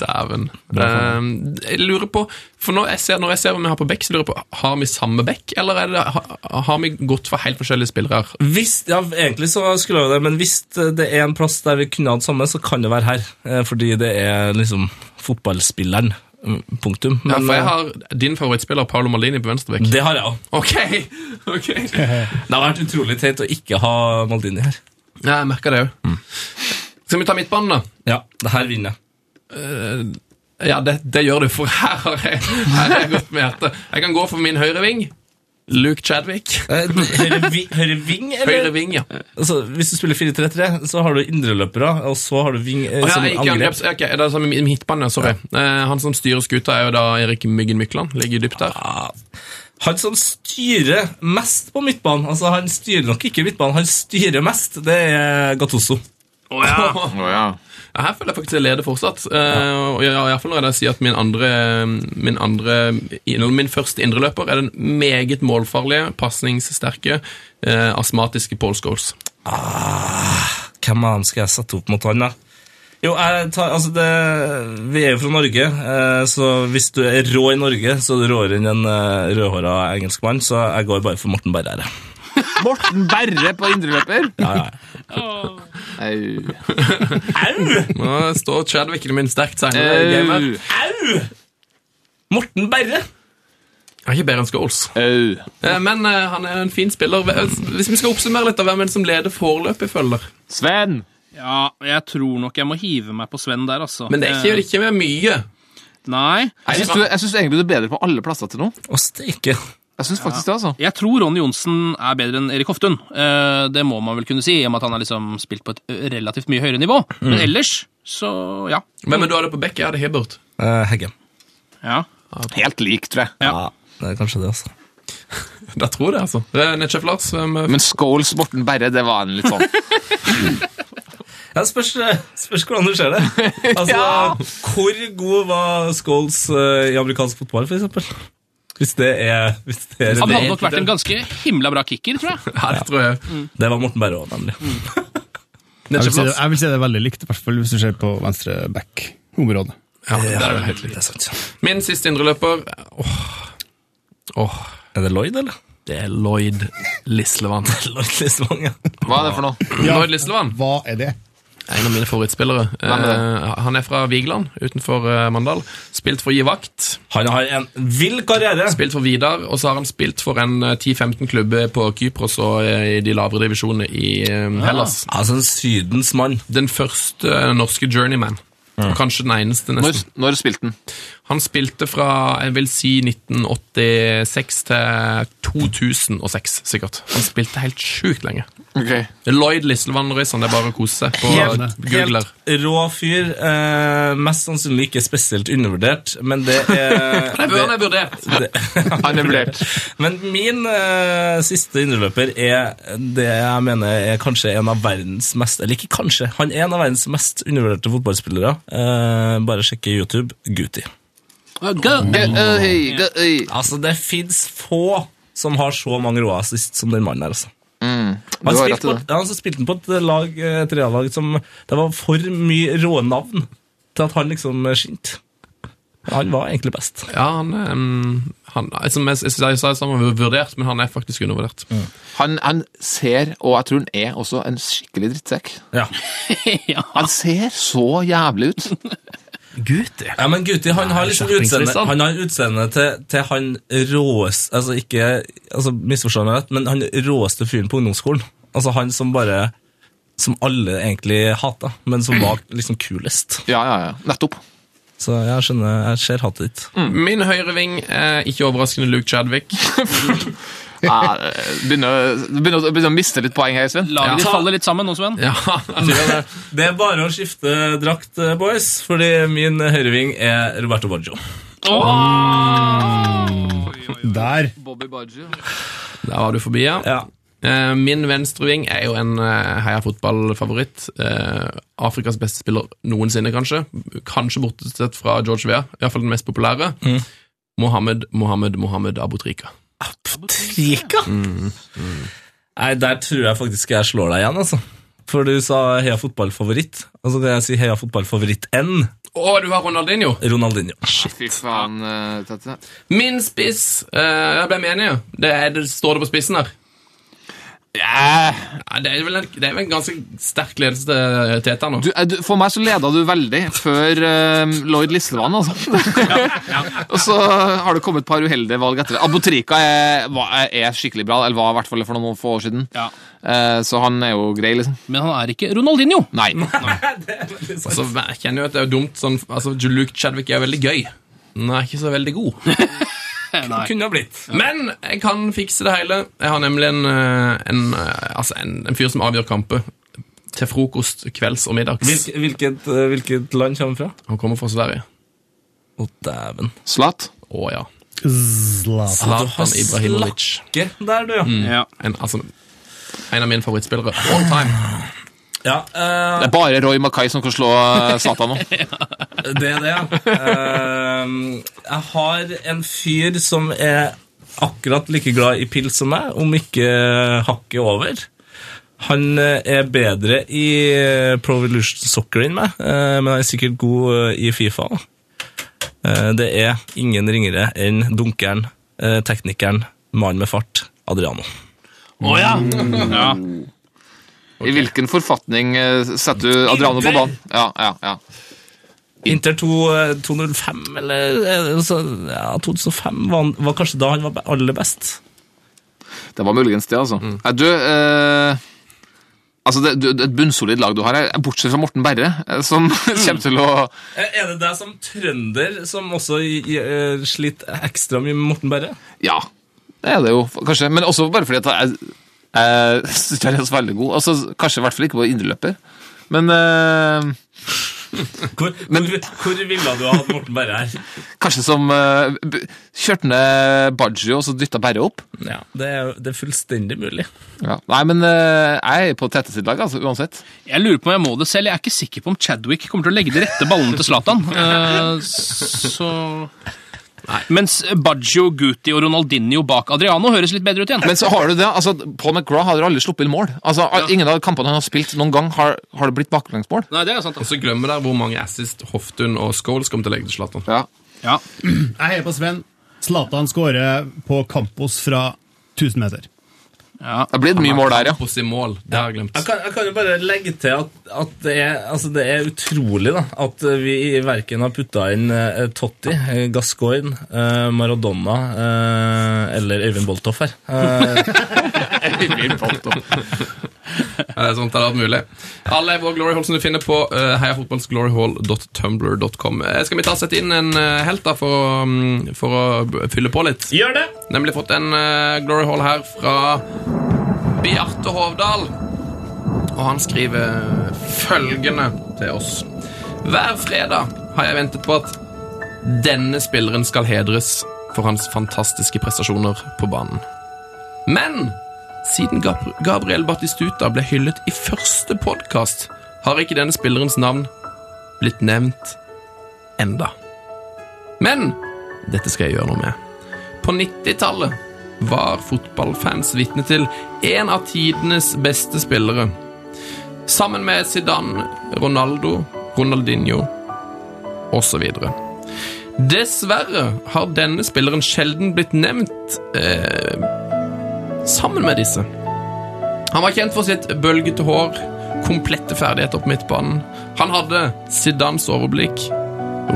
Speaker 3: Dæven. Eh, jeg lurer på For når jeg ser, når jeg ser hvem vi har på bekk, så lurer jeg på har vi samme bekk, eller er det, ha, har vi gått for helt forskjellige spillere? her?
Speaker 4: Hvis, ja, egentlig så skulle jeg jo det, men hvis det er en plass der vi kunne hatt sammen, så kan det være her, eh, fordi det er liksom fotballspilleren, mm, punktum.
Speaker 3: Ja,
Speaker 4: Men,
Speaker 3: for jeg
Speaker 4: eh, Mm.
Speaker 3: har din favorittspiller, Paolo Maldini, på venstre bekk.
Speaker 4: Det har jeg også.
Speaker 3: Ok! ok
Speaker 4: Det har vært utrolig teit å ikke ha Maldini her.
Speaker 3: Ja, Jeg merker det òg.
Speaker 4: Mm.
Speaker 3: Skal vi ta midtbanen, da?
Speaker 4: Ja, det her vinner jeg.
Speaker 3: Ja, det, det gjør du, for her har jeg, her har jeg gått med hjertet. Jeg kan gå for min høyreving. Luke Chadwick.
Speaker 4: Eh, Høyre vi- høyre ving, eller?
Speaker 3: Høyreving, ja.
Speaker 4: Altså, hvis du spiller 4-3-3, så har du indreløpere, og så har du ving eh,
Speaker 3: Å, ja
Speaker 4: som
Speaker 3: ikke
Speaker 4: angrep.
Speaker 3: angreps, ok, det er som i midtbanen, ja, sorry. Eh, han som styrer skuta, er jo da Erik Myggen Mykland. Ligger dypt der.
Speaker 4: Ja. Han som styrer mest på midtbanen, altså han styrer nok ikke midtbanen, han styrer mest, det er Gattuso.
Speaker 6: Å ja.
Speaker 3: Ja, her føler jeg faktisk jeg leder fortsatt. Eh, og ja, Iallfall når jeg da sier at min andre, min andre eller Min første indreløper er den meget målfarlige, pasningssterke, eh, astmatiske Paul Scholes.
Speaker 4: Hvem av dem skal jeg sette opp mot han, da? Jo, jeg tar, altså det, Vi er jo fra Norge, eh, så hvis du er rå i Norge, så er du råere enn en eh, rødhåra engelskmann, så jeg går bare for Morten Berre. her, jeg.
Speaker 6: Morten Berre på indreløper?
Speaker 4: Ja, ja.
Speaker 6: Au.
Speaker 4: Au!
Speaker 3: Nå står Chadwicken min sterkt senere. i gamet.
Speaker 4: Au!
Speaker 6: Au.
Speaker 4: Morten Berre!
Speaker 3: Jeg er ikke bedre enn Scholes.
Speaker 6: Au.
Speaker 3: Eh, Men eh, han er en fin spiller. Hvis vi skal oppsummere litt av hvem er det som leder foreløpig, følger
Speaker 6: Sven!
Speaker 5: Ja, jeg tror nok jeg må hive meg på Sven der, altså.
Speaker 3: Men det er ikke, ikke med mye.
Speaker 5: Eh, Nei.
Speaker 6: Jeg syns, du, jeg syns egentlig du er bedre på alle plasser til nå.
Speaker 4: Å, steike.
Speaker 6: Jeg syns faktisk det, altså.
Speaker 5: Jeg tror Ronny Johnsen er bedre enn Erik Hoftun. Eh, Det må man vel kunne si, i og med at han har liksom spilt på et ø, relativt mye høyere nivå.
Speaker 3: Mm.
Speaker 5: Men ellers, så ja.
Speaker 3: Hvem er du hadde på bekk? Jeg hadde Hibbert.
Speaker 4: Eh, Hegge.
Speaker 5: ja.
Speaker 6: Helt lik, tror jeg.
Speaker 4: Ja, det er kanskje det, altså.
Speaker 3: Da tror jeg det, altså. Eh, Netchef Lars. hvem, eh,
Speaker 6: Men Scholes Morten Berre, det var en litt sånn
Speaker 4: Ja, det spørs, eh, spørs hvordan du ser det. Altså, Hvor god var Scholes eh, i amerikansk fotball, for eksempel? Hvis det er, hvis det er
Speaker 5: Han
Speaker 4: det,
Speaker 5: hadde nok vært en ganske himla bra kicker, tror jeg.
Speaker 3: Ja, det tror jeg.
Speaker 4: det var Morten Berre òg, nemlig.
Speaker 7: Jeg vil,
Speaker 3: Netchef
Speaker 7: si det,
Speaker 3: Lars.
Speaker 7: jeg vil si det er veldig likt, i hvert fall hvis du ser på venstre back-området.
Speaker 3: Ja, det er vel helt
Speaker 4: det er sant.
Speaker 3: Min siste indreløper Åh. Åh,
Speaker 4: Er det Lloyd, eller?
Speaker 3: det er Lloyd Lislevann.
Speaker 4: Lloyd Lisvang, ja.
Speaker 6: Hva er det for noe?
Speaker 3: Lloyd Lislevann,
Speaker 7: Hva er det?
Speaker 3: en av mine favorittspillere.
Speaker 6: Hvem er
Speaker 3: Eh, han er fra Vigeland, utenfor eh, Mandal. Spilt for Givakt,
Speaker 4: Han har en vill karriere.
Speaker 3: spilt for Vidar, og så har han spilt for en eh, 10-15 klubber på Kypros og eh, i de lavere divisjonene i eh,
Speaker 6: Ah.
Speaker 3: Hellas.
Speaker 4: Altså en Sydens mann.
Speaker 3: Den første eh, norske journeyman.
Speaker 6: Mm.
Speaker 3: Og Kanskje den eneste,
Speaker 6: Når,
Speaker 3: nesten.
Speaker 6: når spilte den?
Speaker 3: Han spilte fra jeg vil si 1986 til 2006, sikkert. Han spilte helt sjukt lenge.
Speaker 6: Ok.
Speaker 3: Lloyd Lislevann-røysene, det er bare å kose seg på Googler.
Speaker 4: Helt rå fyr. Eh, mest sannsynlig ikke spesielt undervurdert, men det er
Speaker 3: Det bør han ha vurdert.
Speaker 6: Han er vurdert.
Speaker 4: Men min eh, siste indreløper er det jeg mener er kanskje en av verdens mest Eller ikke kanskje, han er en av verdens mest undervurderte fotballspillere. Eh, bare sjekke YouTube. Guti.
Speaker 6: Gøy, øy, gøy.
Speaker 4: Altså, det fins få som har så mange rå assist som den mannen her, altså.
Speaker 6: Du
Speaker 4: Han
Speaker 6: har
Speaker 4: spilte,
Speaker 6: rett i
Speaker 4: på,
Speaker 6: det.
Speaker 4: ja, han spilte han på et lag, et reallag som Det var for mye rå navn til at han liksom skinte. Han var egentlig best.
Speaker 3: Ja, han, um, han som jeg, jeg, jeg sa i sammen, vurdert, men han er faktisk undervurdert.
Speaker 6: Han, han ser, og jeg tror han er også en skikkelig drittsekk.
Speaker 4: Ja.
Speaker 6: Han ser så jævlig ut.
Speaker 3: Guti.
Speaker 4: Ja, men Guti, han har liksom utseende,
Speaker 3: skjerpingslistene.
Speaker 4: han har utseende til, til han råeste Altså, ikke altså, misforstå meg rett, men han råeste fyren på ungdomsskolen. Altså, han som bare Som alle egentlig hata, men som var liksom kulest.
Speaker 6: Ja, ja, ja. Nettopp.
Speaker 4: Så jeg
Speaker 3: Mm.
Speaker 4: skjønner Jeg ser hatet ditt.
Speaker 3: Min høyreving er ikke overraskende Luke Chadwick.
Speaker 6: Ja, begynner, begynner, begynner å miste litt poeng her, Sven.
Speaker 5: Laget ditt faller litt sammen nå, Sven.
Speaker 3: Ja,
Speaker 4: Altså, det. er bare å skifte drakt, eh, boys, fordi min høyreving er Roberto Baggio.
Speaker 7: Der.
Speaker 6: Bobby Baggio.
Speaker 3: Der var du forbi, ja.
Speaker 4: Ja.
Speaker 3: Eh, Min venstreving er jo en eh, heia fotballfavoritt. Eh, Afrikas beste spiller noensinne, kanskje. Kanskje bortsett fra George Weah, iallfall den mest populære. Mohammed Mohammed Mohammed Abotrika.
Speaker 4: Trika? Mm, Nei, der tror jeg faktisk jeg slår deg igjen, altså. For du sa heia fotballfavoritt. Altså det jeg sier heia fotballfavoritt enn
Speaker 3: Å, du har Ronaldinho!
Speaker 4: Ronaldinho.
Speaker 6: Fy faen, eh, Tete.
Speaker 3: Min spiss eh, Jeg ble med enig, jo. Det, er, det står det på spissen her. Ja, det, er vel en, det er vel en ganske sterk ledelse til Teta nå.
Speaker 6: Du, eh, du, for meg så leda du veldig før eh, Lloyd Lislevann, altså. og så har det kommet et par uheldige valg etter det. Abotrika er, var- er skikkelig bra, eller var i hvert fall for noen få år siden.
Speaker 5: Ja.
Speaker 6: Eh, så han er jo grei, liksom.
Speaker 5: Men han er ikke Ronaldinho.
Speaker 6: Nei.
Speaker 3: Altså, jeg kjenner jo at det er dumt sånn, altså, Luke Chadwick er veldig gøy, men han er ikke så veldig god.
Speaker 4: Kunne ha blitt.
Speaker 3: Men jeg kan fikse det hele. Jeg har nemlig en, eh, en, eh, altså en, en fyr som avgjør kamper. Til frokost, kvelds og middags.
Speaker 4: Hvilket, hvilket, eh, hvilket land kommer fra?
Speaker 3: Han kommer fra Sverige.
Speaker 4: Å, dæven.
Speaker 6: Slat.
Speaker 3: Å ja.
Speaker 4: Altså,
Speaker 7: Zlatan.
Speaker 3: Zlatan Ibrahimovic.
Speaker 4: Ikke der, du, ja.
Speaker 3: En, altså, en av mine favorittspillere all time.
Speaker 4: ja eh,
Speaker 6: Det er bare Roy Mackay som kan slå eh, Zlatan nå.
Speaker 4: Det er det, ja. Ehm, jeg har en fyr som er akkurat like glad i pils som meg, om ikke hakket over. Han eh, er bedre i eh, Pro Evolution Soccer enn meg, eh, men han er sikkert god eh, i Fifa. da. Eh, Det er ingen ringere enn dunkeren, eh, teknikeren, mannen med fart, Adriano.
Speaker 5: Å ja. ja.
Speaker 6: I hvilken forfatning eh, setter du Adriano på banen? Ja, ja, ja.
Speaker 4: Inter eh, 2, 205, eller eh, så, ja, 2005 var, han- var kanskje da han var be- aller best.
Speaker 6: Det var muligens det, altså. Nei, du, eh, altså det, du, det er et bunnsolid lag du har her, bortsett fra Morten Berre, eh, som kommer til å
Speaker 4: Eh, Er er det deg som trønder som også i- i- eh, sliter ekstra mye med Morten Berre?
Speaker 6: Ja, det er det jo, kanskje. Men også bare fordi at jeg, jeg synes han er så veldig god. Altså, kanskje i hvert fall ikke på indreløper. Men eh,
Speaker 4: Hvor, hvor, hvor ville du ha hatt Morten Berre her?
Speaker 6: kanskje som eh, b- Kjørte ned Baggio, og så dytta Berre opp.
Speaker 4: Ja, det er, det er fullstendig mulig.
Speaker 6: Ja. Nei, men eh, jeg er på Tete sitt lag, altså, uansett.
Speaker 5: Jeg lurer på om jeg må det selv. Jeg er ikke sikker på om Chadwick kommer til å legge de rette ballene til Zlatan. Eh, så Mens Baggio, Guti og Ronaldinho bak Adriano høres litt bedre ut igjen.
Speaker 6: Men så har du det, altså, Paul McGraw har jo aldri sluppet inn mål. Altså, Ingen av kampene han har spilt noen gang, har, har det blitt baklengsmål.
Speaker 5: Nei, det er sant. altså.
Speaker 3: Og så glemmer dere hvor mange assist Hoftun og Scholes kommer til å legge til Zlatan.
Speaker 6: Ja.
Speaker 5: Ja.
Speaker 7: Jeg heier på Sven. Zlatan skårer på Campos fra 1000 meter.
Speaker 6: Det blir mye mål der, ja.
Speaker 3: Campos i mål. Det har jeg glemt.
Speaker 4: Jeg kan, jeg kan jo bare legge til at, at det, er, altså det er utrolig da, at vi verken har putta inn eh, Totti, eh, Gascoigne, eh, Maradona eh, eller Øyvind Boltoff her. Eh,
Speaker 3: Ja, det er sånn at det hadde vært mulig. Alle våre Glory Hall som du finner på uh, heiafotballsgloryhall.tumblr.com. Eh, Skal vi ta og sette inn en eh, helt da for, å, mm, for å b- fylle på litt?
Speaker 4: Gjør det!
Speaker 3: Nemlig fått en eh, Glory Hall her fra Bjarte Hovdal. Og han skriver følgende til oss. Hver fredag har jeg ventet på at denne spilleren skal hedres for hans fantastiske prestasjoner på banen. Men siden Gab- Gabriel Batistuta ble hyllet i første podkast, har ikke denne spillerens navn blitt nevnt enda. Men dette skal jeg gjøre noe med. På 90-tallet var fotballfans vitne til en av tidenes beste spillere. Sammen med Zidane, Ronaldo, Ronaldinho osv. Dessverre har denne spilleren sjelden blitt nevnt eh, sammen med disse. Han var kjent for sitt bølgete hår, komplette ferdigheter på midtbanen. Han hadde Zidanes overblikk,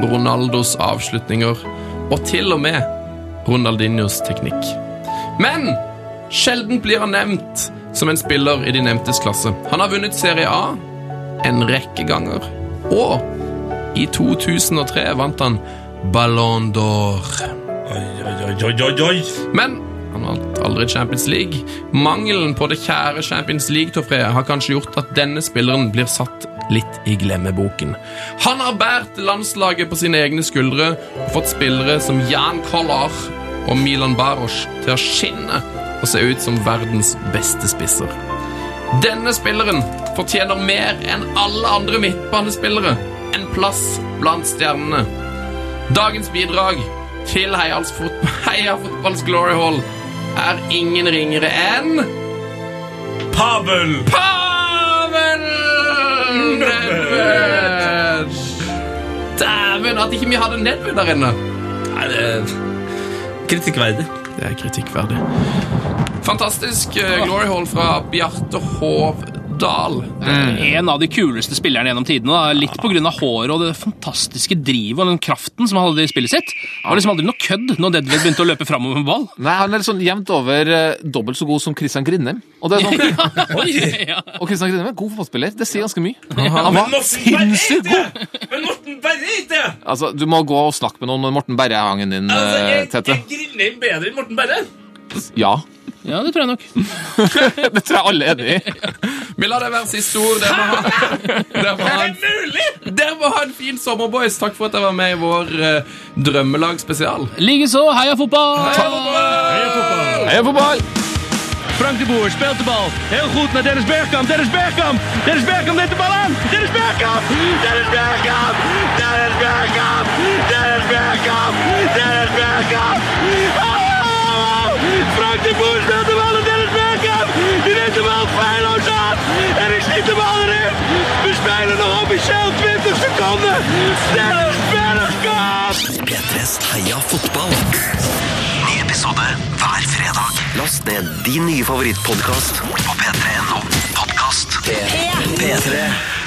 Speaker 3: Ronaldos avslutninger og til og med Ronaldinhos teknikk. Men sjelden blir han nevnt som en spiller i de nevntes klasse. Han har vunnet Serie A en rekke ganger, og i 2003 vant han Ballon d'Or.
Speaker 4: Oi, oi, oi, oi, oi, oi.
Speaker 3: Men han vant vant aldri Champions League. Mangelen på det kjære Champions League-trofeet har kanskje gjort at denne spilleren blir satt litt i glemmeboken. Han har båret landslaget på sine egne skuldre og fått spillere som Jan Kollar og Milan Baros til å skinne og se ut som verdens beste spisser. Denne spilleren fortjener mer enn alle andre midtbanespillere en plass blant stjernene. Dagens bidrag til Heias fot Heia fotballs glory hall er ingen ringere enn
Speaker 4: Pavel!
Speaker 3: Pavel Nedved! Dæven, at ikke vi hadde Nedved der inne!
Speaker 4: Nei, det er kritikkverdig.
Speaker 3: Det er kritikkverdig. Fantastisk eh, glory hall fra Bjarte Hovdal.
Speaker 5: En av de kuleste spillerne gjennom tidene. da. Litt pga. håret og det fantastiske drivet og den kraften som han hadde i spillet sitt. Det var liksom aldri noe kødd når Nedved begynte å løpe framover med ball.
Speaker 6: Nei, han er sånn jevnt over eh, dobbelt så god som Christian Grindheim. Og, det er sånn,
Speaker 5: Ja.
Speaker 6: og Christian Grindheim er en god fotballspiller. Det sier ganske mye.
Speaker 3: Han
Speaker 6: Han
Speaker 3: var-
Speaker 6: var sinnssykt god!
Speaker 4: Men Morten Berre er ikke det! Altså,
Speaker 6: Altså, Du må gå og snakke med noen med Morten Berre-hangen din, eh, Tete.
Speaker 4: griller inn bedre enn Morten Berre.
Speaker 6: Ja.
Speaker 5: ja, det tror jeg nok.
Speaker 6: Det tror jeg alle er enig i.
Speaker 3: Vi lar det være siste ord. Der må ha, der må ha,
Speaker 4: Mulig!
Speaker 3: der må ha en fin sommer, boys. Takk for at dere var med i vår eh, drømmelag-spesial.
Speaker 5: Likeså, heia fotball!
Speaker 6: Heia fotball!
Speaker 8: Frank de Boer speelt de bal. Heel goed naar Dennis Bergkamp. Dennis Bergkamp. Dennis Bergkamp neemt de bal aan. Dennis Bergkamp. Dennis Bergkamp. Dennis Bergkamp. Dennis Bergkamp. Dennis Bergkamp. Oh! Frank de Boer speelt de bal aan Dennis Bergkamp. Die neemt de bal feilloos aan. En is niet de bal erin. We spelen nog officieel 20 seconden. Dennis Bergkamp.
Speaker 2: P3s Heia fotball. Ny episode hver fredag. Last ned din nye favorittpodkast på p3.no podkast. P3.